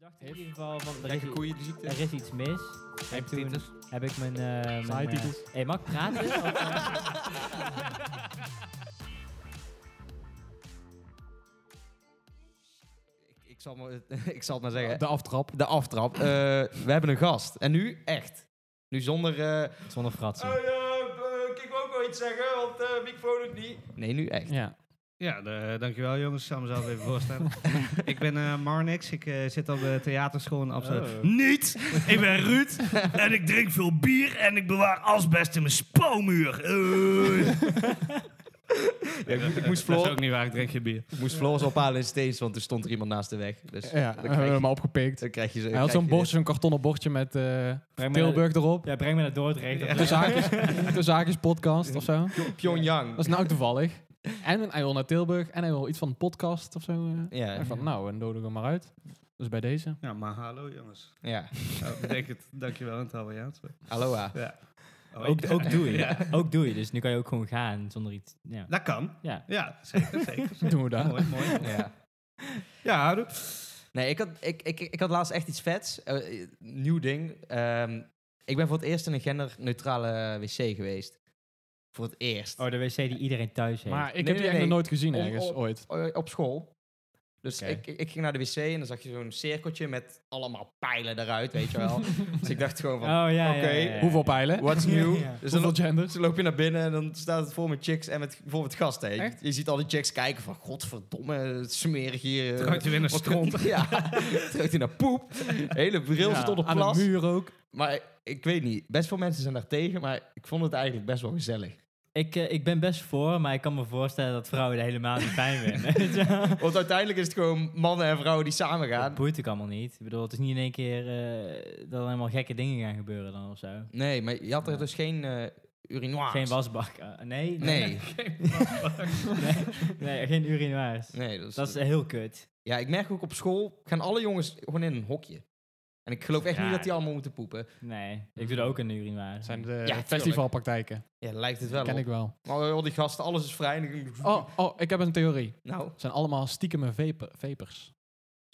dacht in ieder geval van, er is, Gekke i- koeienziekte. er is iets mis. En toen Hepatitis. heb ik mijn... eh, mijn, eh, Saaititels. hey, mag ik praten? Of, eh? Ik, ik, zal maar, ik zal het maar zeggen. De aftrap. De aftrap. Eh, we hebben een gast. En nu echt. Nu zonder... eh, Zonder fratsen. ik wil ook wel iets zeggen, want de microfoon doet niet. Nee, nu echt. Ja. Ja, de- dankjewel jongens. Ik zal mezelf even voorstellen. ik ben eh, Marnix. Ik eh, zit op de theaterschool in Amsterdam. Oh. Niet! Ik ben Ruud en ik drink veel bier en ik bewaar asbest in mijn spouwmuur. Eh. ik, moest- ik moest Dat is Floor, ook niet waar. Ik drink geen bier. ik moest Floor eens ophalen in Steens, want er stond er iemand naast de weg. Dus Ja, dan we hebben krijg hem je, opgepikt. dan krijg je ze. Hij had krijg zo'n je bordje, zo'n kartonnen bordje met eh, Breng me naar, Tilburg erop. ja, breng me naar Dordrecht. De zaakjes, de zaakjes podcast of zo. dit. Pyongyang. Dat is nou toevallig. En hij wil naar Tilburg en hij wil iets van een podcast of zo. eh. Ja, En van, nou, en nodig hem maar uit. Dus bij deze. Ja, maar hallo jongens. ja. Oh, bedenk het. Dankjewel in het Italiaans. Aloha. Ja. Oh, Ook, ik- ook doe je. Ja. Ook doe je. Dus nu kan je ook gewoon gaan zonder iets... Ja. Dat kan. ja. Ja, zeker, zeker. Doen we dat. mooi, mooi. Ja. Ja, hallo. Nee, ik had, ik, ik, ik had laatst echt iets vets. Eh, eh, nieuw ding. Ehm, ik ben voor het eerst in een genderneutrale wc geweest. Voor het eerst. Oh, de wc die iedereen thuis heeft. Maar ik Nee, heb nee, die echt nee. nog nooit gezien Om- ergens, om- ooit. Eh, Op school. Dus Oké. ik, ik, ik ging naar de wc en dan zag je zo'n cirkeltje met allemaal pijlen eruit, weet je wel. dus ik dacht gewoon oh, van, ja, ja, oké, ja, ja, ja. Hoeveel pijlen? what's new? Ja, ja. Dus dan Hoeveel lo- genders? dus dan loop je naar binnen en dan staat het vol met chicks en met bijvoorbeeld gasten. Je, Echt? je ziet al die chicks kijken van, godverdomme, smerig hier. eh, Ruikt je weer naar wat stront. komt- Ja, het ruikt hier naar poep. Hele bril Ja, zit onder Aan de plas. muur ook. Maar ik, ik weet niet, best veel mensen zijn daar tegen, maar ik vond het eigenlijk best wel gezellig. Ik, eh, ik ben best voor, maar ik kan me voorstellen dat vrouwen er helemaal niet fijn vinden. Ja. Want uiteindelijk is het gewoon mannen en vrouwen die samen Dat gaan. boeit ook allemaal niet. Ik bedoel, het is niet in één keer eh, dat er helemaal gekke dingen gaan gebeuren dan of zo. Nee, maar je had er dus geen eh urinoirs. Geen wasbak. eh, nee, Nee, nee, nee, geen urinoirs. nee. Dat is, Dat is heel kut. Ja, ik merk ook op school gaan alle jongens gewoon in een hokje. En ik geloof echt Ja, niet dat die allemaal moeten poepen. Nee, ik doe er ook een urinoir. Dat zijn de tuurlijk. festivalpraktijken. Ja, lijkt het wel Ken op. ik wel. Maar al die gasten, alles is vrij. En ik- Oh, oh, ik heb een theorie. Nou, Het zijn allemaal stiekeme vape- vapers.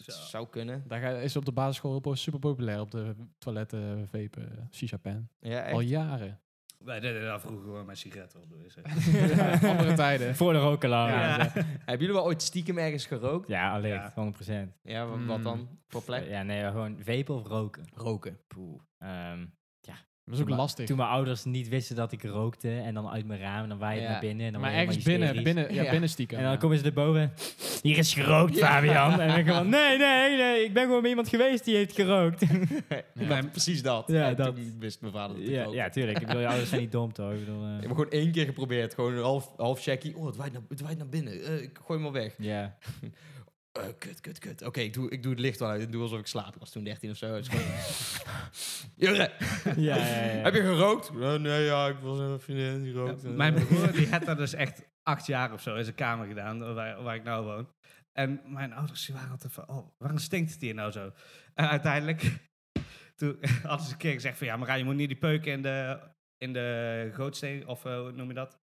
het zou kunnen. Daar ga- is op de basisschool heel po- super populair op de toiletten eh, vapen, eh, shisha-pen. Ja, echt. Al jaren. Wij deden daar vroeger gewoon mijn sigaretten op dus, eh. de wc. Andere tijden. Voor de rookelaar. Ja. Ja. Hebben jullie wel ooit stiekem ergens gerookt? ja, alleen Ja. 100%. Ja, wa- wat, Mm. dan? Voor plek? Hmm. Ja, nee, gewoon vapen of roken. Roken. Poeh. Ehm, Dat is ook maar- lastig. toen mijn ouders niet wisten dat ik rookte en dan uit mijn raam, dan waaide het Ja. naar binnen. En dan maar word je ergens helemaal binnen, hysterisch. binnen, ja, Ja. binnen stiekem. En dan ja. komen ze erboven. Hier is gerookt, Fabian. En dan gewoon, nee, nee, nee. Ik ben gewoon bij iemand geweest die heeft gerookt. Ja. Nee, precies dat. Ja, En dat. Toen wist mijn vader dat ik ja, rookte. ja, tuurlijk. Ik bedoel, je ouders zijn niet dom, toch? Ik bedoel, eh, Ik heb gewoon één keer geprobeerd. Gewoon een half, half checkie. Oh, het waait naar, het waait naar binnen. Eh, ik gooi hem al weg. ja. Eh, kut, kut, kut. Oké, ik, doe, ik doe het licht wel uit. Ik doe alsof ik slaap. Ik was toen 13 of zo. Het is gewoon- Jurre, Ja, ja, ja, ja. heb je gerookt? Eh, nee, ja, ik was een vriendin die rookt. Ja, Mijn broer die had daar dus echt acht jaar of zo in zijn kamer gedaan, waar, waar ik nou woon. En mijn ouders die waren altijd van, oh, waarom stinkt het hier nou zo? En uiteindelijk, toen hadden ze een keer gezegd van, ja, maar je moet niet die peuken in de, in de gootsteen, of eh, hoe noem je dat?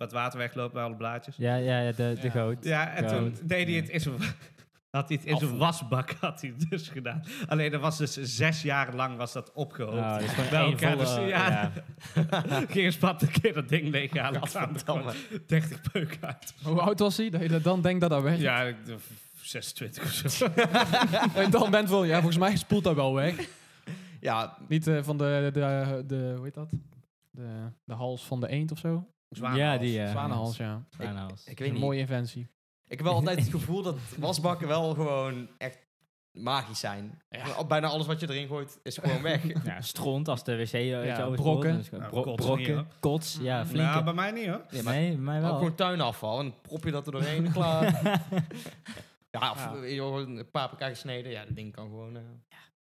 Wat water wegloopt bij alle blaadjes. Ja, ja, ja, de, de Ja. goot. Ja, en toen Goud. deed hij het in zijn... Had hij het in zijn Afvoer. wasbak had hij het dus gedaan. Alleen dat was dus zes jaar lang was dat opgehoopt. Nou, dat is gewoon Bij één elkaar, volle- dus ja. ja. Geen spat een keer dat ding leeghalen. Dat kwam er gewoon 30 peuken uit. Hoe oud was hij? Dat je dat dan denkt dat dat werkt. Ja, ik- de v- 26 of zo. En dan bent wel, ja, volgens mij spoelt dat wel weg. Ja, Niet eh, van de, de, de, hoe heet dat? De, de hals van de eend of zo. Ja, die, eh, ja. Zwanenhals, ja. Zwanenhals. ik Een weet niet. mooie inventie. Ik heb wel altijd het gevoel dat wasbakken wel gewoon echt magisch zijn. Al- Bijna alles wat je erin gooit is gewoon weg. Ja, stront als de wc eh, Ja, zo is brokken. groot, dus gewoon Nou, bro- kots brokken, niet, kots, ja, flinke. Nou, bij mij niet hoor. Nee, maar nee, bij mij ook wel. gewoon tuinafval en dan prop je dat er doorheen en klaar. ja, of eh, joh, een paprika gesneden. Ja, dat ding kan gewoon... eh,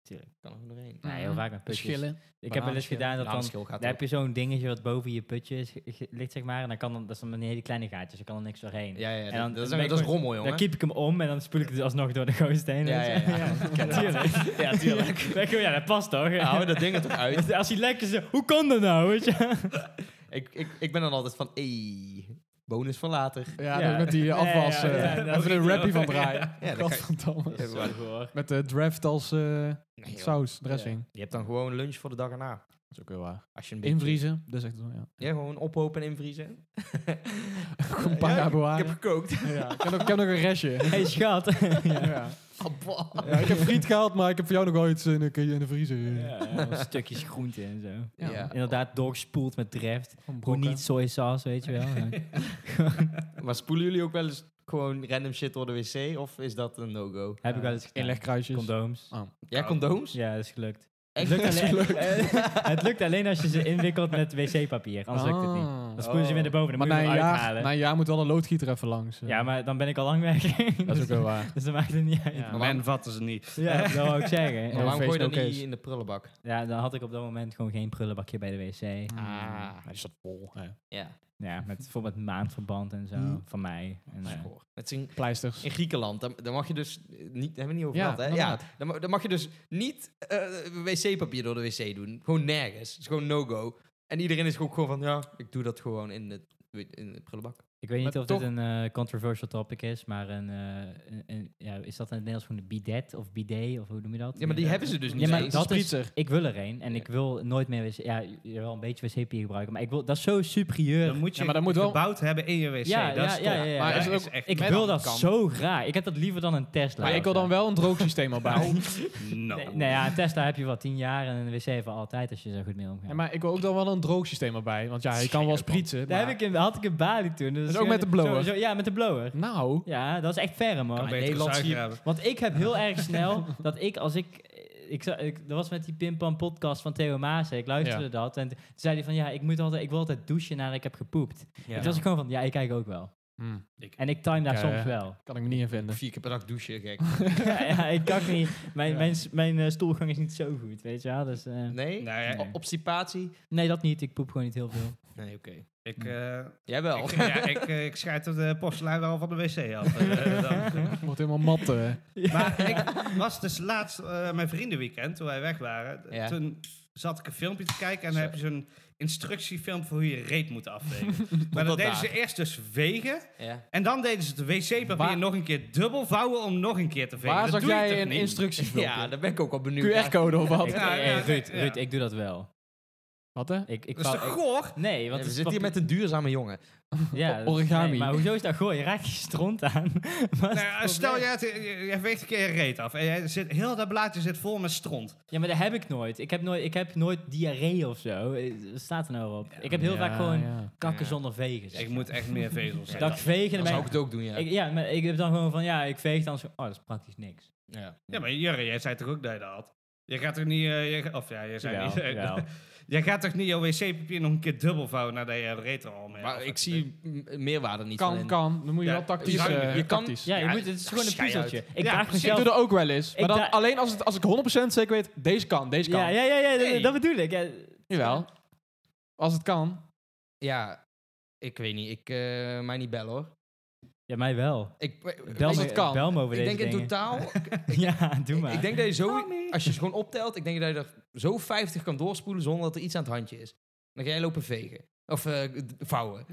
tuurlijk. Kan er gewoon doorheen. Nee, heel vaak met putjes. Schillen. Ik heb wel eens Bananenschillen. gedaan dat dan Bananenschil gaat Dan ook. heb je zo'n dingetje wat boven je putje is, ge- ge- ligt, zeg maar. En dan kan dan, dat is dan een hele kleine gaatjes, er kan er niks doorheen. Ja, ja, En dat- dan- dan dat, ben is, ik dat is gewoon- rommel, jongen. Dan kiep ik hem om en dan spoel ik het alsnog door de gootsteen. Ja, weet je. ja, ja. Ik ken dat. tuurlijk. Ja, tuurlijk. Dan denk ik, ja, dat past toch? Ja, hou dat ding er toch uit. Als hij lek is, hoe kan dat nou? Weet je? Ik, ik, ik ben dan altijd van, ey, Bonus voor later. Ja, Ja. dat met die Ja, afwas. ja, eh, ja, dat even een is- rappie van draaien. Ja, dat kan- Gadverdamme. Ja, maar- hoor. Met de draft als eh, Nee, joh. saus, dressing. Je hebt dan gewoon lunch voor de dag erna. Dat is ook heel waar. Als je een beetje- Invriezen, dat is echt zo, ja. Ja, gewoon ophopen en invriezen. Gewoon een paar Ja, jaar ik- Ik bewaren. heb gekookt. Ja, ik heb nog- ik heb nog een restje. Hey schat. Ja. Ah, bah. Ja, ik heb friet gehaald, maar ik heb voor jou nog wel iets in de, in de vriezer. eh. Ja. stukjes groente en zo. Ja. Ja. Inderdaad, doorgespoeld met draft. Hoe niet sojasaus, weet je wel. Ja. Maar spoelen jullie ook wel eens gewoon random shit door de wc? Of is dat een no-go? Heb ik wel eens gedaan. Inlegkruisjes. Condooms. Ja, condooms? Ja, dat is gelukt. Echt? Het lukt alleen, het lukt alleen als je ze inwikkelt met wc-papier. Anders lukt het niet. Dan spoelen ze weer naar boven. Dan Ah. Maar moet na je een, hem jaar, uithalen. na een jaar moet wel een loodgieter even langs. eh. Ja, maar dan ben ik al lang weg. Dat is ook wel waar. Dus dat maakt het niet uit. Ja. Ja, Maar Men vatten ze niet. dat wou ik zeggen. Maar waarom feest gooi je dat ook niet eens. in de prullenbak? Ja, dan had ik op dat moment gewoon geen prullenbakje bij de wc. Mm. Ah. Hij zat vol. Ja. Ja, Ja, met bijvoorbeeld maandverband en zo Mm. van mij. En, eh, schoor. Het is in, Pleisters. in Griekenland, dan, dan mag je dus eh, niet, daar hebben we niet over Ja, gehad, hè? Ja, inderdaad. dan, ma- dan mag je dus niet eh, wc-papier door de wc doen. Gewoon nergens. Het is gewoon no-go. En iedereen is ook gewoon van, ja, ik doe dat gewoon in de, in de prullenbak. ik weet niet Maar of toch- dit een eh, controversial topic is, maar een, eh, een- een- ja, is dat in het Nederlands gewoon een bidet of bidet of hoe noem je dat? Ja, maar die hebben ze dus niet Ja, maar eens. dat is, Spritzer. ik wil er een en Ja. ik wil nooit meer wc, ja, j- wel een beetje wc-papier gebruiken, maar ik wil, dat is zo superieur. Dan moet je Ja, maar dat moet wel- gebouwd hebben in je wc. Ja, dat ja, is ja, top. ja, ja. Maar Ja, is is het ook- echt ik met wil aan de dat kant. zo graag. Ik heb dat liever dan een Tesla. Maar of ik wil zo. dan wel een droogsysteem al bij. no. Nee, nou ja, een Tesla heb je wel tien jaar en een wc voor altijd als je zo goed mee omgaat. Ja, maar ik wil ook dan wel een droogsysteem erbij. Want ja, je kan wel sprieten. Daar Maar... heb ik in, had ik een Bali toen. Dus ook met de blower? zo- zo- ja, met de blower. Nou, Ja, dat is echt ferm hoor. Kan Betere Nederland zie je- zuiger hebben. Want ik heb heel erg snel dat ik als ik. eh, Ik, zou- ik dat was met die Pimpam podcast van Theo Maassen. Ik luisterde Ja. dat. En toen zei hij van ja, ik, moet altijd, ik wil altijd douchen nadat ik heb gepoept. En Ja. toen was ik gewoon van ja, ik kijk ook wel. hm, En ik time daar Ik, eh, soms wel. kan ik me niet in vinden. Vier keer per dag douchen, gek. ja, ja, ik kan niet. Mijn, Ja. mijn, s- mijn eh, stoelgang is niet zo goed, weet je wel. Dus, eh, nee. Nee? Nou ja, O- Obstipatie? dat niet. Ik poep gewoon niet heel veel. Nee, oké. ik, eh, Jij wel. ik, ja, ik, eh, ik schijt de porselein wel van de wc af. eh, dan. Wordt helemaal mat. eh. Maar ik was dus laatst eh, mijn vriendenweekend, toen wij weg waren. d- Ja. Toen zat ik een filmpje te kijken en dan Zo. heb je zo'n instructiefilmpje voor hoe je reet moet afwegen. maar dan tot deden daar. ze eerst dus wegen Ja. en dan deden ze het wc-papier Waar- nog een keer dubbel vouwen om nog een keer te vegen. Waar Dat zag doe je toch jij een niet? instructiefilmpje? ja, daar ben ik ook al benieuwd. naar. QR-code of wat? Ik, Ja, eh, ja, Ruud, ja. Ruud, ik doe dat wel. Wat hè? Ik, ik, Dat is wou- toch ik- goor? nee, want Ja, we het is zitten hier papier- met een duurzame jongen. Ja, dat- Origami. nee, maar hoezo is dat gooi? Je raakt je stront aan. Wat is Nou, het ja, stel, probleem? jij, hebt- eh, jij weegt een keer je reet af en jij zit, heel dat blaadje zit vol met stront. Ja, maar dat heb ik nooit. Ik heb nooit, ik heb nooit diarree of zo. Eh, Wat staat er nou op? Ik heb heel vaak Ja, gewoon ja. kakken Ja. zonder vegen. zeg Ik maar. moet echt meer vezels Dat ik hebben. vegen... Dan Dan ben zou ik ik, het ook doen, ja. ik- ja, maar ik heb dan gewoon van... Ja, ik veeg dan zo... Oh, dat is praktisch niks. ja. Ja, maar Jurre, jij zei toch ook dat je dat had? Je gaat toch niet... eh, je- of ja, jij zei Jawel, niet... jawel. Jij gaat toch niet jouw wc-papier nog een keer dubbel vouwen nadat je reet er al mee Maar af ik hebt? zie m- meerwaarde niet van Kan, in. kan. Dan moet je Ja, wel tactisch. je kan- eh, je kan- tactisch. Ja, je Ja, moet, het is gewoon een schei puzzeltje. uit. Ik Ja, vraag precies. Ik mezelf... doe dat ook wel eens. Ik Maar dan da- alleen als, het, als ik 100% zeker weet, deze kan, deze kan. ja, ja, ja, ja, dat- Nee. dat bedoel ik. Ja, Jawel. Als het kan. Ja, ik weet niet. Ik eh, mij niet bellen, hoor. Ja, mij wel. Ik, Bel ik, me, het kan. Bel me over ik deze denk in dingen. totaal... Ja, doe maar. ik denk dat je zo... Als je ze gewoon optelt, ik denk dat je er zo 50 kan doorspoelen zonder dat er iets aan het handje is. Dan ga jij lopen vegen. Of eh, d- vouwen.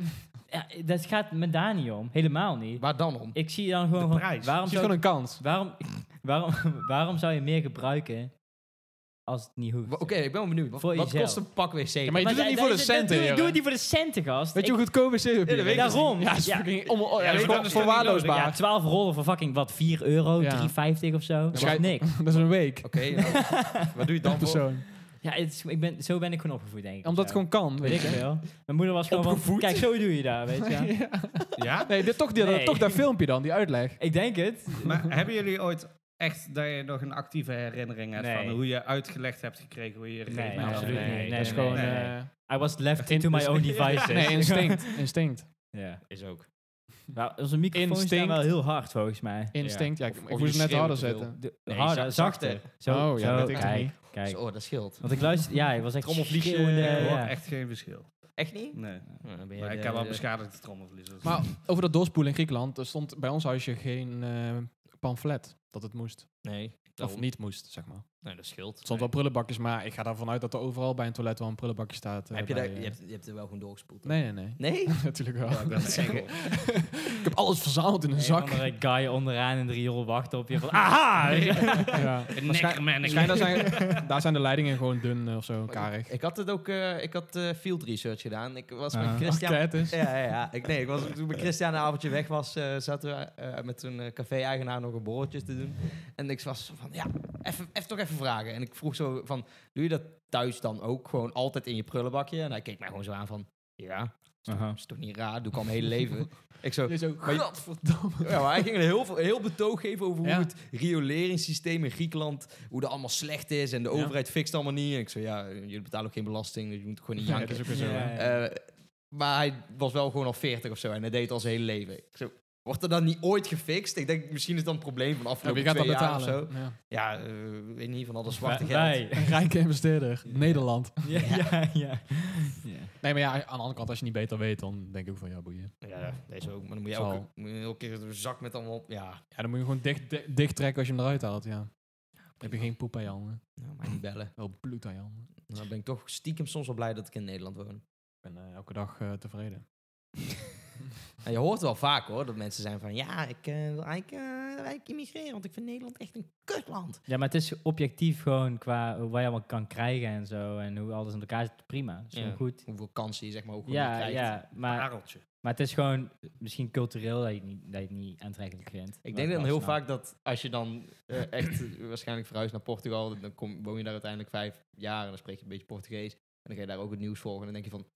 Ja, dat gaat me daar niet om. Helemaal niet. Waar dan om? Ik zie dan gewoon De van... prijs. Waarom Het is zou gewoon een kans. Waarom, waarom, waarom zou je meer gebruiken als het niet hoeft? Wa- Oké, ik ben wel benieuwd. Wat, Voor wat jezelf. kost een pak wc? Ja, maar je doet het da- niet da- voor de da- centen, Doe, doe jongen. het niet voor de centen, gast. Weet je Ik- hoe goedkoop wc Ja, dat papier weet is? ik dus Daarom. Ja, dat is Ja. fucking om- oh, ja, dat is weet gewoon je, dat is voorwaarloosbaar. ja, 12 rollen voor fucking wat, 4 euro, Ja. 3,50 of zo. Dat is Schrijf- niks. Dat is een week. Oké, nou, wat doe je per dan voor? persoon. Ja, het is, ik ben, zo ben ik gewoon opgevoed, denk ik. Omdat het Zo. gewoon kan, Weet ik weet je. veel. Mijn moeder was gewoon van, Opgevoed? kijk, zo doe je daar, weet je. wel. Ja? Nee, dit, toch, die, Nee. toch dat filmpje dan, die uitleg. Ik denk het. Maar hebben jullie ooit echt dat je nog een actieve herinnering hebt Nee. van hoe je uitgelegd hebt gekregen hoe je reet Nee, moet absoluut afleggen? niet. Nee, dat is nee, gewoon... nee, eh, nee. I was left into my own devices. Nee, instinct. Instinct. Ja. Is ook. Nou, onze microfoon is Instinct. wel heel hard, volgens mij. Instinct, ja. ik, Of- ik of je moest hem net schreeuwt harder te veel. zetten. De, Nee, harder, zacht- zachter. zachter. Zo, Oh, ja, zo, dat ik toch kijk, niet. kijk. Zo, oh, dat scheelt. Want ik luister, ja, ik was echt Trommelvliesje, schreeuwende- eh, Ik hoor ja. echt geen verschil. Echt niet? Nee. Nou, dan ben jij Maar ik de- heb wel de- beschadigde trommelvliezen. Maar over dat doorspoelen in Griekenland, er stond bij ons huisje geen eh pamflet dat het moest. Nee. Oh. Of niet moest, zeg maar. Nee, dat scheelt. Er stond wel prullenbakjes, maar ik ga ervan uit dat er overal bij een toilet wel een prullenbakje staat. eh, heb je, bij, daar, je, eh, hebt, je hebt er wel gewoon doorgespoeld. Nee, nee, nee. Nee? Natuurlijk wel. Ja, ik ben echt- ik heb alles verzameld in een Een zak. andere guy onderaan in de riool wachten op je van... Aha! Ah, Ja. Waarschijn- Waarschijnlijk zijn, daar zijn de leidingen gewoon dun eh, of zo, karig. Ik had het ook, eh, ik had eh, field research gedaan. Ik was Ah. met Christian. Eh, Enquête is. Ja, ja, ja. Ik, nee, ik was, toen met Christian een avondje weg was, eh, zaten we eh, met een eh, café-eigenaar nog een borreltje te doen. En ik was zo van, ja, even, even toch even vragen. En ik vroeg zo van, doe je dat thuis dan ook gewoon altijd in je prullenbakje? En hij keek mij gewoon zo aan van, ja, dat is toch niet raar? Doe ik al mijn hele leven. Ik zo, Je zo, Maar je- godverdamme. ja, maar hij ging er heel, veel- heel betoog geven over hoe Ja. het rioleringssysteem in Griekenland, hoe dat allemaal slecht is en de Ja. overheid fixt allemaal niet. En ik zei, ja, jullie betalen ook geen belasting, dus je moet gewoon niet Ja, janken. dat is ook weer zo. Ja, hè. ja. Eh, maar hij was wel gewoon al 40 of zo en hij deed het al zijn hele leven. Ik zo, wordt er dan niet ooit gefixt? Ik denk, misschien is het dan een probleem van Ja, afgelopen wie gaat dat twee jaar of betalen? zo. Ja. Ja, eh, weet niet, van al dat zwarte Wij. geld. wij. Een rijke investeerder, Nederland. Ja, ja, ja. Nee, maar ja, aan de andere kant, als je niet beter weet, dan denk ik ook van, ja, boeien. Ja, deze ook. Maar dan moet je Zal. elke, moet je elke keer een zak met allemaal... Ja, Ja, dan moet je gewoon dicht, di- dicht trekken als je hem eruit haalt, ja. Dan heb je geen poep aan je handen. nou, maar niet bellen. Wel bloed aan je handen. Dan ben ik toch stiekem soms wel blij dat ik in Nederland woon. Ik ben eh, elke dag eh, tevreden. Nou, je hoort wel vaak hoor, dat mensen zijn van ja, ik eh, wil eigenlijk, eh, eigenlijk immigreren, want ik vind Nederland echt een kutland. Ja, maar het is objectief gewoon qua wat je allemaal kan krijgen en zo. En hoe alles in elkaar zit, prima. Dat is gewoon Ja. goed. Hoeveel kansen je zeg maar ook gewoon Ja, krijgt. ja. Maar, Pareltje. maar het is gewoon misschien cultureel dat je het niet, dat je het niet aantrekkelijk vindt. Ik Maar denk dan heel nationaal- vaak dat als je dan eh, echt waarschijnlijk verhuist naar Portugal, dan kom, woon je daar uiteindelijk vijf jaar en dan spreek je een beetje Portugees. En dan ga je daar ook het nieuws volgen en dan denk je van,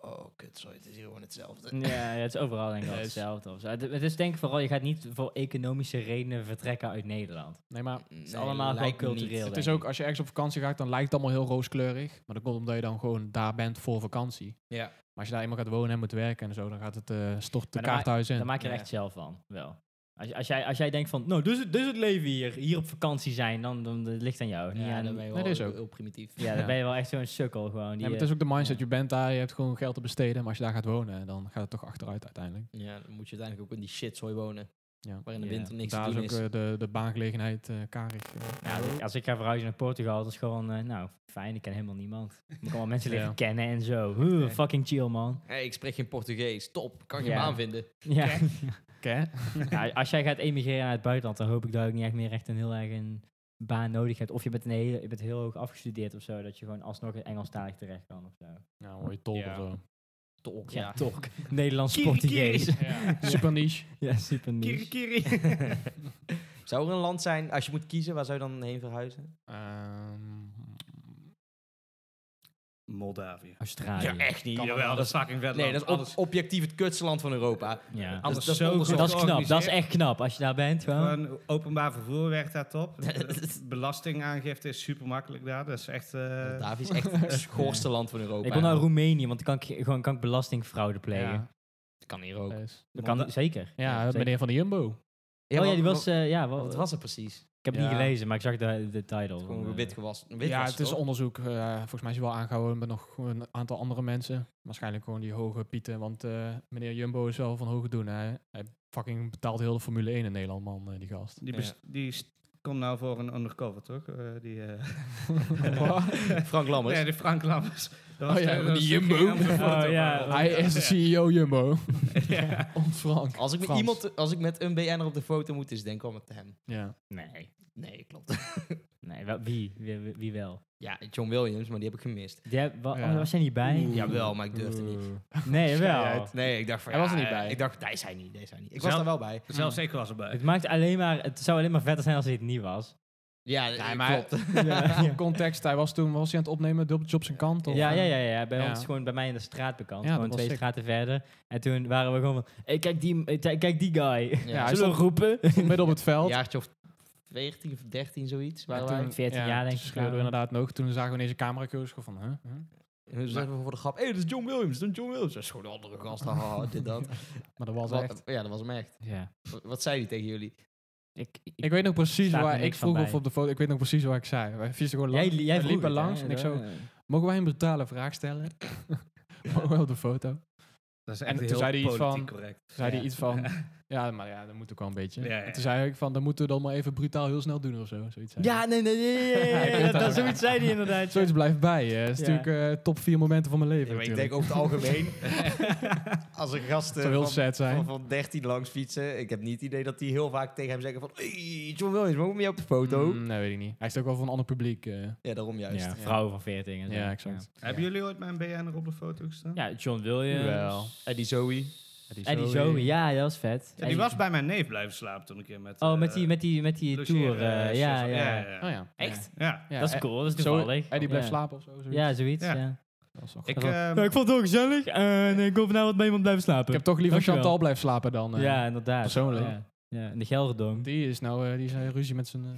oh kut, sorry, het is hier gewoon hetzelfde. Ja, ja, het is overal denk ik wel Ja, is- hetzelfde. Of zo. Het, het is denk ik vooral, je gaat niet voor economische redenen vertrekken uit Nederland. Nee, maar Nee, is allemaal lijkt gewoon me niet. cultureel. Het is denk ook, als je ergens op vakantie gaat, dan lijkt het allemaal heel rooskleurig. Maar dat komt omdat je dan gewoon daar bent voor vakantie. Ja. Maar als je daar eenmaal gaat wonen en moet werken en zo, dan gaat het eh stort de Maar dan kaart thuis in. Daar maak je er Ja. echt zelf van, wel. Als, je- als, jij, als jij denkt van, nou, dus het, dus het leven hier, hier op vakantie zijn, dan, dan, dan ligt aan jou. niet Ja, aan- dan ben je Nee, wel dat is heel, ook. heel primitief. ja, dan ja. ben je wel echt zo'n sukkel gewoon. Die, Nee, maar het is ook de mindset, je bent daar, je hebt gewoon geld te besteden. Maar als je daar gaat wonen, dan gaat het toch achteruit uiteindelijk. Ja, dan moet je uiteindelijk ook in die shitzooi wonen, Ja. waar in de Ja. winter niks daar te is doen ook is. eh, de, de baangelegenheid eh karig. eh. eh, nou, als ik- als ik ga verhuizen naar Portugal, dat is gewoon, eh, nou, fijn, ik ken helemaal niemand. Moet ik allemaal mensen leren Ja. kennen en zo. Huh, Nee. Fucking chill, man. Hey, ik spreek geen Portugees, top, kan je Ja. baan vinden. Ja. Oké. Ja, als jij gaat emigreren naar het buitenland, dan hoop ik dat je ook niet echt meer echt een heel erg een baan nodig hebt. Of je bent, een hele, je bent heel hoog afgestudeerd of zo, dat je gewoon alsnog in Engelstalig terecht kan of zo. Nou, hoor je tol Ja. of zo. Tolk, Ja, ja. toch. Nederlands Kiri, kiri. Portugees. Super niche. Ja, super Kiri, niche. kiri. Zou er een land zijn, als je moet kiezen, waar zou je dan heen verhuizen? Ehm, Moldavië. Australië. Ja, eh, echt niet. Kan Jawel, wel. dat is fucking vet Nee, dat is anders. op, objectief het kutste land van Europa. Ja. Dat Anders is- dat is zo onderzoek. goed Dat is knap. Dat is georganiseerd. echt knap. Als je daar bent, gewoon. Gewoon openbaar vervoer werkt daar top. Belastingaangifte is super makkelijk daar. Dat is echt. eh, Moldavië is echt het schoorste land van Europa. Ik wil naar Roemenië, want dan kan ik, gewoon, kan ik belastingfraude plegen. ja, Dat kan hier ook. Eh. dus. Dat kan, zeker. ja, zeker. meneer van de Jumbo. oh ja, wat- die was... wat- eh, ja, wel- Wat was het precies? ik heb het Ja. niet gelezen, maar ik zag de, de title. Gewoon Eh, wit gewassen. Wit Ja, het is onderzoek. eh, volgens mij is hij wel aangehouden met nog gewoon een aantal andere mensen. Waarschijnlijk gewoon die hoge pieten. Want eh, meneer Jumbo is wel van hoge doen. Hè. Hij fucking betaalt heel de Formule 1 in Nederland, man, eh, die gast. die bes- die st- komt nou voor een undercover, toch? Eh, die, eh, Frank Lammers. Nee, de Frank Lammers. Dat was Oh ja, de- dat die was- Jumbo. ging om de foto, Oh ja. maar- hij is de CEO Jumbo. Ja. Ons Frank. als, ik met Frans. iemand, als ik met een BN'er op de foto moet, is het denk ik wel met hem. Ja. Nee. Nee, klopt. Nee, wel- wie? Wie, wie- wie wel? Ja, John Williams, maar die heb ik gemist. Die, heb- wa- Ja. oh, was jij niet bij? Oeh. Jawel, maar ik durfde niet. Nee, wel. Schijnheid. Nee, ik dacht van Hij ja, was er niet eh, bij. Ik dacht, hij is hij niet, hij is hij niet. Ik Zou- was daar wel bij. Zelfs ik was erbij. Het, maakt alleen maar, het zou alleen maar vetter zijn als hij het niet was. Ja, Nee, eh, maar- klopt. Ja, Context, hij was toen was hij aan het opnemen, dubbeltje op zijn kant. Of, ja, ja, eh, ja, ja, bij Ja. ons gewoon bij mij in de straat bekend. Ja, dat gewoon was twee sick. straten verder. En toen waren we gewoon van, hey, kijk, die, eh, kijk die guy. Ja, hij Zullen we stond roepen? midden op het veld. Een jaartje of 14 of 13, zoiets. En Waren toen- wij. 14 jaar, denk toen ik, Hm? schreeuwden we waren. inderdaad nog. Toen zagen we ineens een cameracursus van, huh? Huh? En toen zeiden we voor de grap, hé, hey, dat is John Williams, dat is John Williams. Dat is gewoon een andere gast, haha, dit, dat. Maar dat was Wat- echt... Ja, dat was hem echt. ja. Wat, wat zei hij tegen jullie? Ik, ik, Ik weet nog precies Staat me waar ik niks van vroeg of bij. op de foto. Ik weet nog precies waar ik zei. Wij visten gewoon jij, lang, jij wij vroeg liepen het, hè? langs en ik zo. Ja. Mogen wij een brutale vraag stellen? Mogen wij op de foto? Dat is en echt toen heel zei hij iets van- politiek correct. Zei hij Ja. iets van: Ja, maar ja, dat moet ook wel een beetje. Ja, ja. En Toen zei ik van, dan moeten we dan maar even brutaal heel snel doen of zo. Zoiets, zei Ja, hij. nee, nee, nee. nee, nee, nee, weet dat, het dat ook. zoiets zei hij inderdaad. ja. Zoiets blijft bij je. Dat is Ja. natuurlijk eh, top vier momenten van mijn leven. Ja, maar ik natuurlijk. denk over het algemeen, als een gast eh, Het zou heel van, sad zijn. Van, van 13 langs fietsen, ik heb niet het idee dat die heel vaak tegen hem zeggen van "Hey, John Williams, mogen we mee op de foto? Mm, nee, weet ik niet. Hij is ook wel van een ander publiek. eh. Ja, daarom juist. Ja, vrouwen van 14 en zo. Ja, exact. Hebben jullie ooit mijn BN er op de foto gestaan? Ja, John Williams. Wel. Eddie Zoe. Eddie Zoe, ja, dat was vet. Ja, die was bij mijn neef blijven slapen toen ik een keer met... Oh, eh, met die, met die, met die logeren, tour. eh, eh, ja, zo- ja. Oh ja. Echt? Ja. Ja, dat is eh, cool, dat is Zoe- toevallig. Eddie blijft Ja. slapen of zo. zoiets. Ja, zoiets, Ja. ja. Dat is toch- Ik, Ik, ehm, Nou, ik vond het heel gezellig en ik hoop nou wat bij iemand blijven slapen. heb toch liever Dankjewel. Chantal blijven slapen dan... eh. ja, inderdaad. persoonlijk. Ja, ja. in de Gelredome. Die is nou eh, die is, eh, ruzie met zijn eh,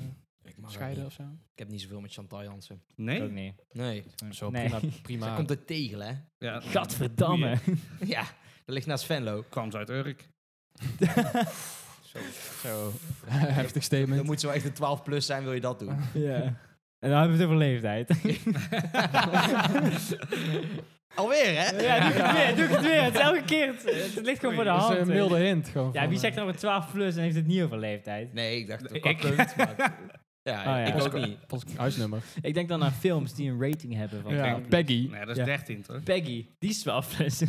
Ik, Oh, mag scheider niet. of zo. ik heb niet zoveel met Chantal Jansen. Ook nee? niet. Nee. Zo, Nee. prima. Zij prima. komt uit Tegel, hè? Ja. Gadverdamme. ja, dat ligt naast Venlo. Kwam ze uit Urk. Zo, heftig statement. Dan moet ze wel echt een 12 plus zijn, wil je dat doen? ja. En dan hebben we het over leeftijd. Alweer, hè? ja, doe ik het weer, doe ik het weer. Het is elke keer, het, het ligt gewoon voor de dat hand. is Ah, een milde hint. Gewoon dus, eh, Ja, van, wie eh, zegt nou met 12 plus en heeft het niet over leeftijd? Oh Nee, ik dacht, Nee, qua ik. punt, maar- ja, ja. ik ook Postcode. niet. Pas- huisnummer. Ik denk dan aan films die een rating hebben van Ja, Peggy. Peggy. Nee, dat is Ja. 13, toch? Peggy, die is 12 plus.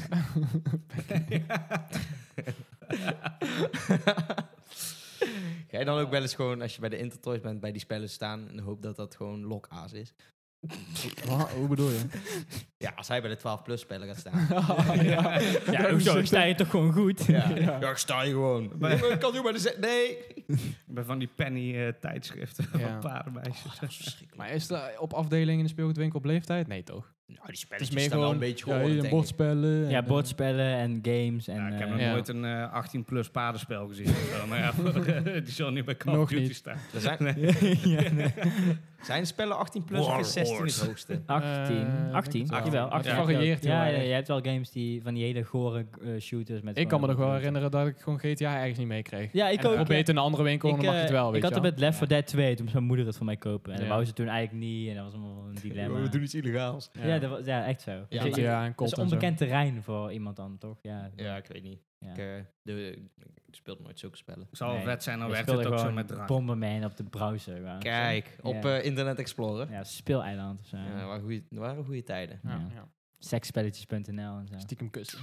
Ga je dan ook wel eens gewoon, als je bij de Intertoys bent, bij die spellen staan in de hoop dat dat gewoon lokaas is? Wa- Hoe bedoel je? Ja, als hij bij de 12 plus spellen gaat staan. Oh, ja. ja, hoezo? Sta je toch gewoon goed? Ja, ja. ik sta hier gewoon. Maar- Ik kan nu bij de... ze- Nee! Bij van die penny-tijdschriften Ja. van Oh, paardenmeisjes. Maar is dat op afdeling in de speelgoedwinkel op leeftijd? Nee, toch? Nou, die Het is spelletjes meer staan wel gewoon een beetje ja, gehoord, hier een denk ik. bordspellen. en, Ja, eh, bordspellen en games. En, Ja, ik heb eh, nog ja. nooit een eh, 18-plus paardenspel gezien. of zo, maar ja, eh, die zal niet bij Call Nog of Duty niet. staan. Er zijn, ja, nee. zijn spellen 18 plus of War is 16 het Horse. hoogste? 18. denk 18, het wel. jawel. Het 18 varieert heel ja, ja, erg. je hebt wel games die van die hele gore eh, shooters met. Ik kan me nog gewoon- wel herinneren dat ik gewoon GTA ergens niet mee kreeg. Ja, ik en dan ook. probeer het in een andere winkel en dan Ik, mag je het eh, wel, weet ik had je het wel. met Left 4 Dead 2 toen moest mijn moeder het voor mij kopen. En Ja. dat wou ze toen eigenlijk niet en dat was allemaal een dilemma. iets illegaals. ja. dat was, ja, echt zo. Ja, Dus maar- je- ja, en dat Colt is en zo. onbekend terrein voor iemand dan, toch? Ja, Ja, ik weet niet. Ja. Ik, eh, Ah, doe- ik speelde nooit zulke spellen. Het zal wel Nee, vet zijn, dan Je werkt speelde het ook zo gewoon met drank. Bomberman op de browser. waar- Kijk, op Ja. eh, Internet Explorer. Ja, speeleiland of zo. Ja, waren goeie- waren goede tijden. Ja, Ja. ja. Sekspelletjes.nl en zo. Stiekem kussen.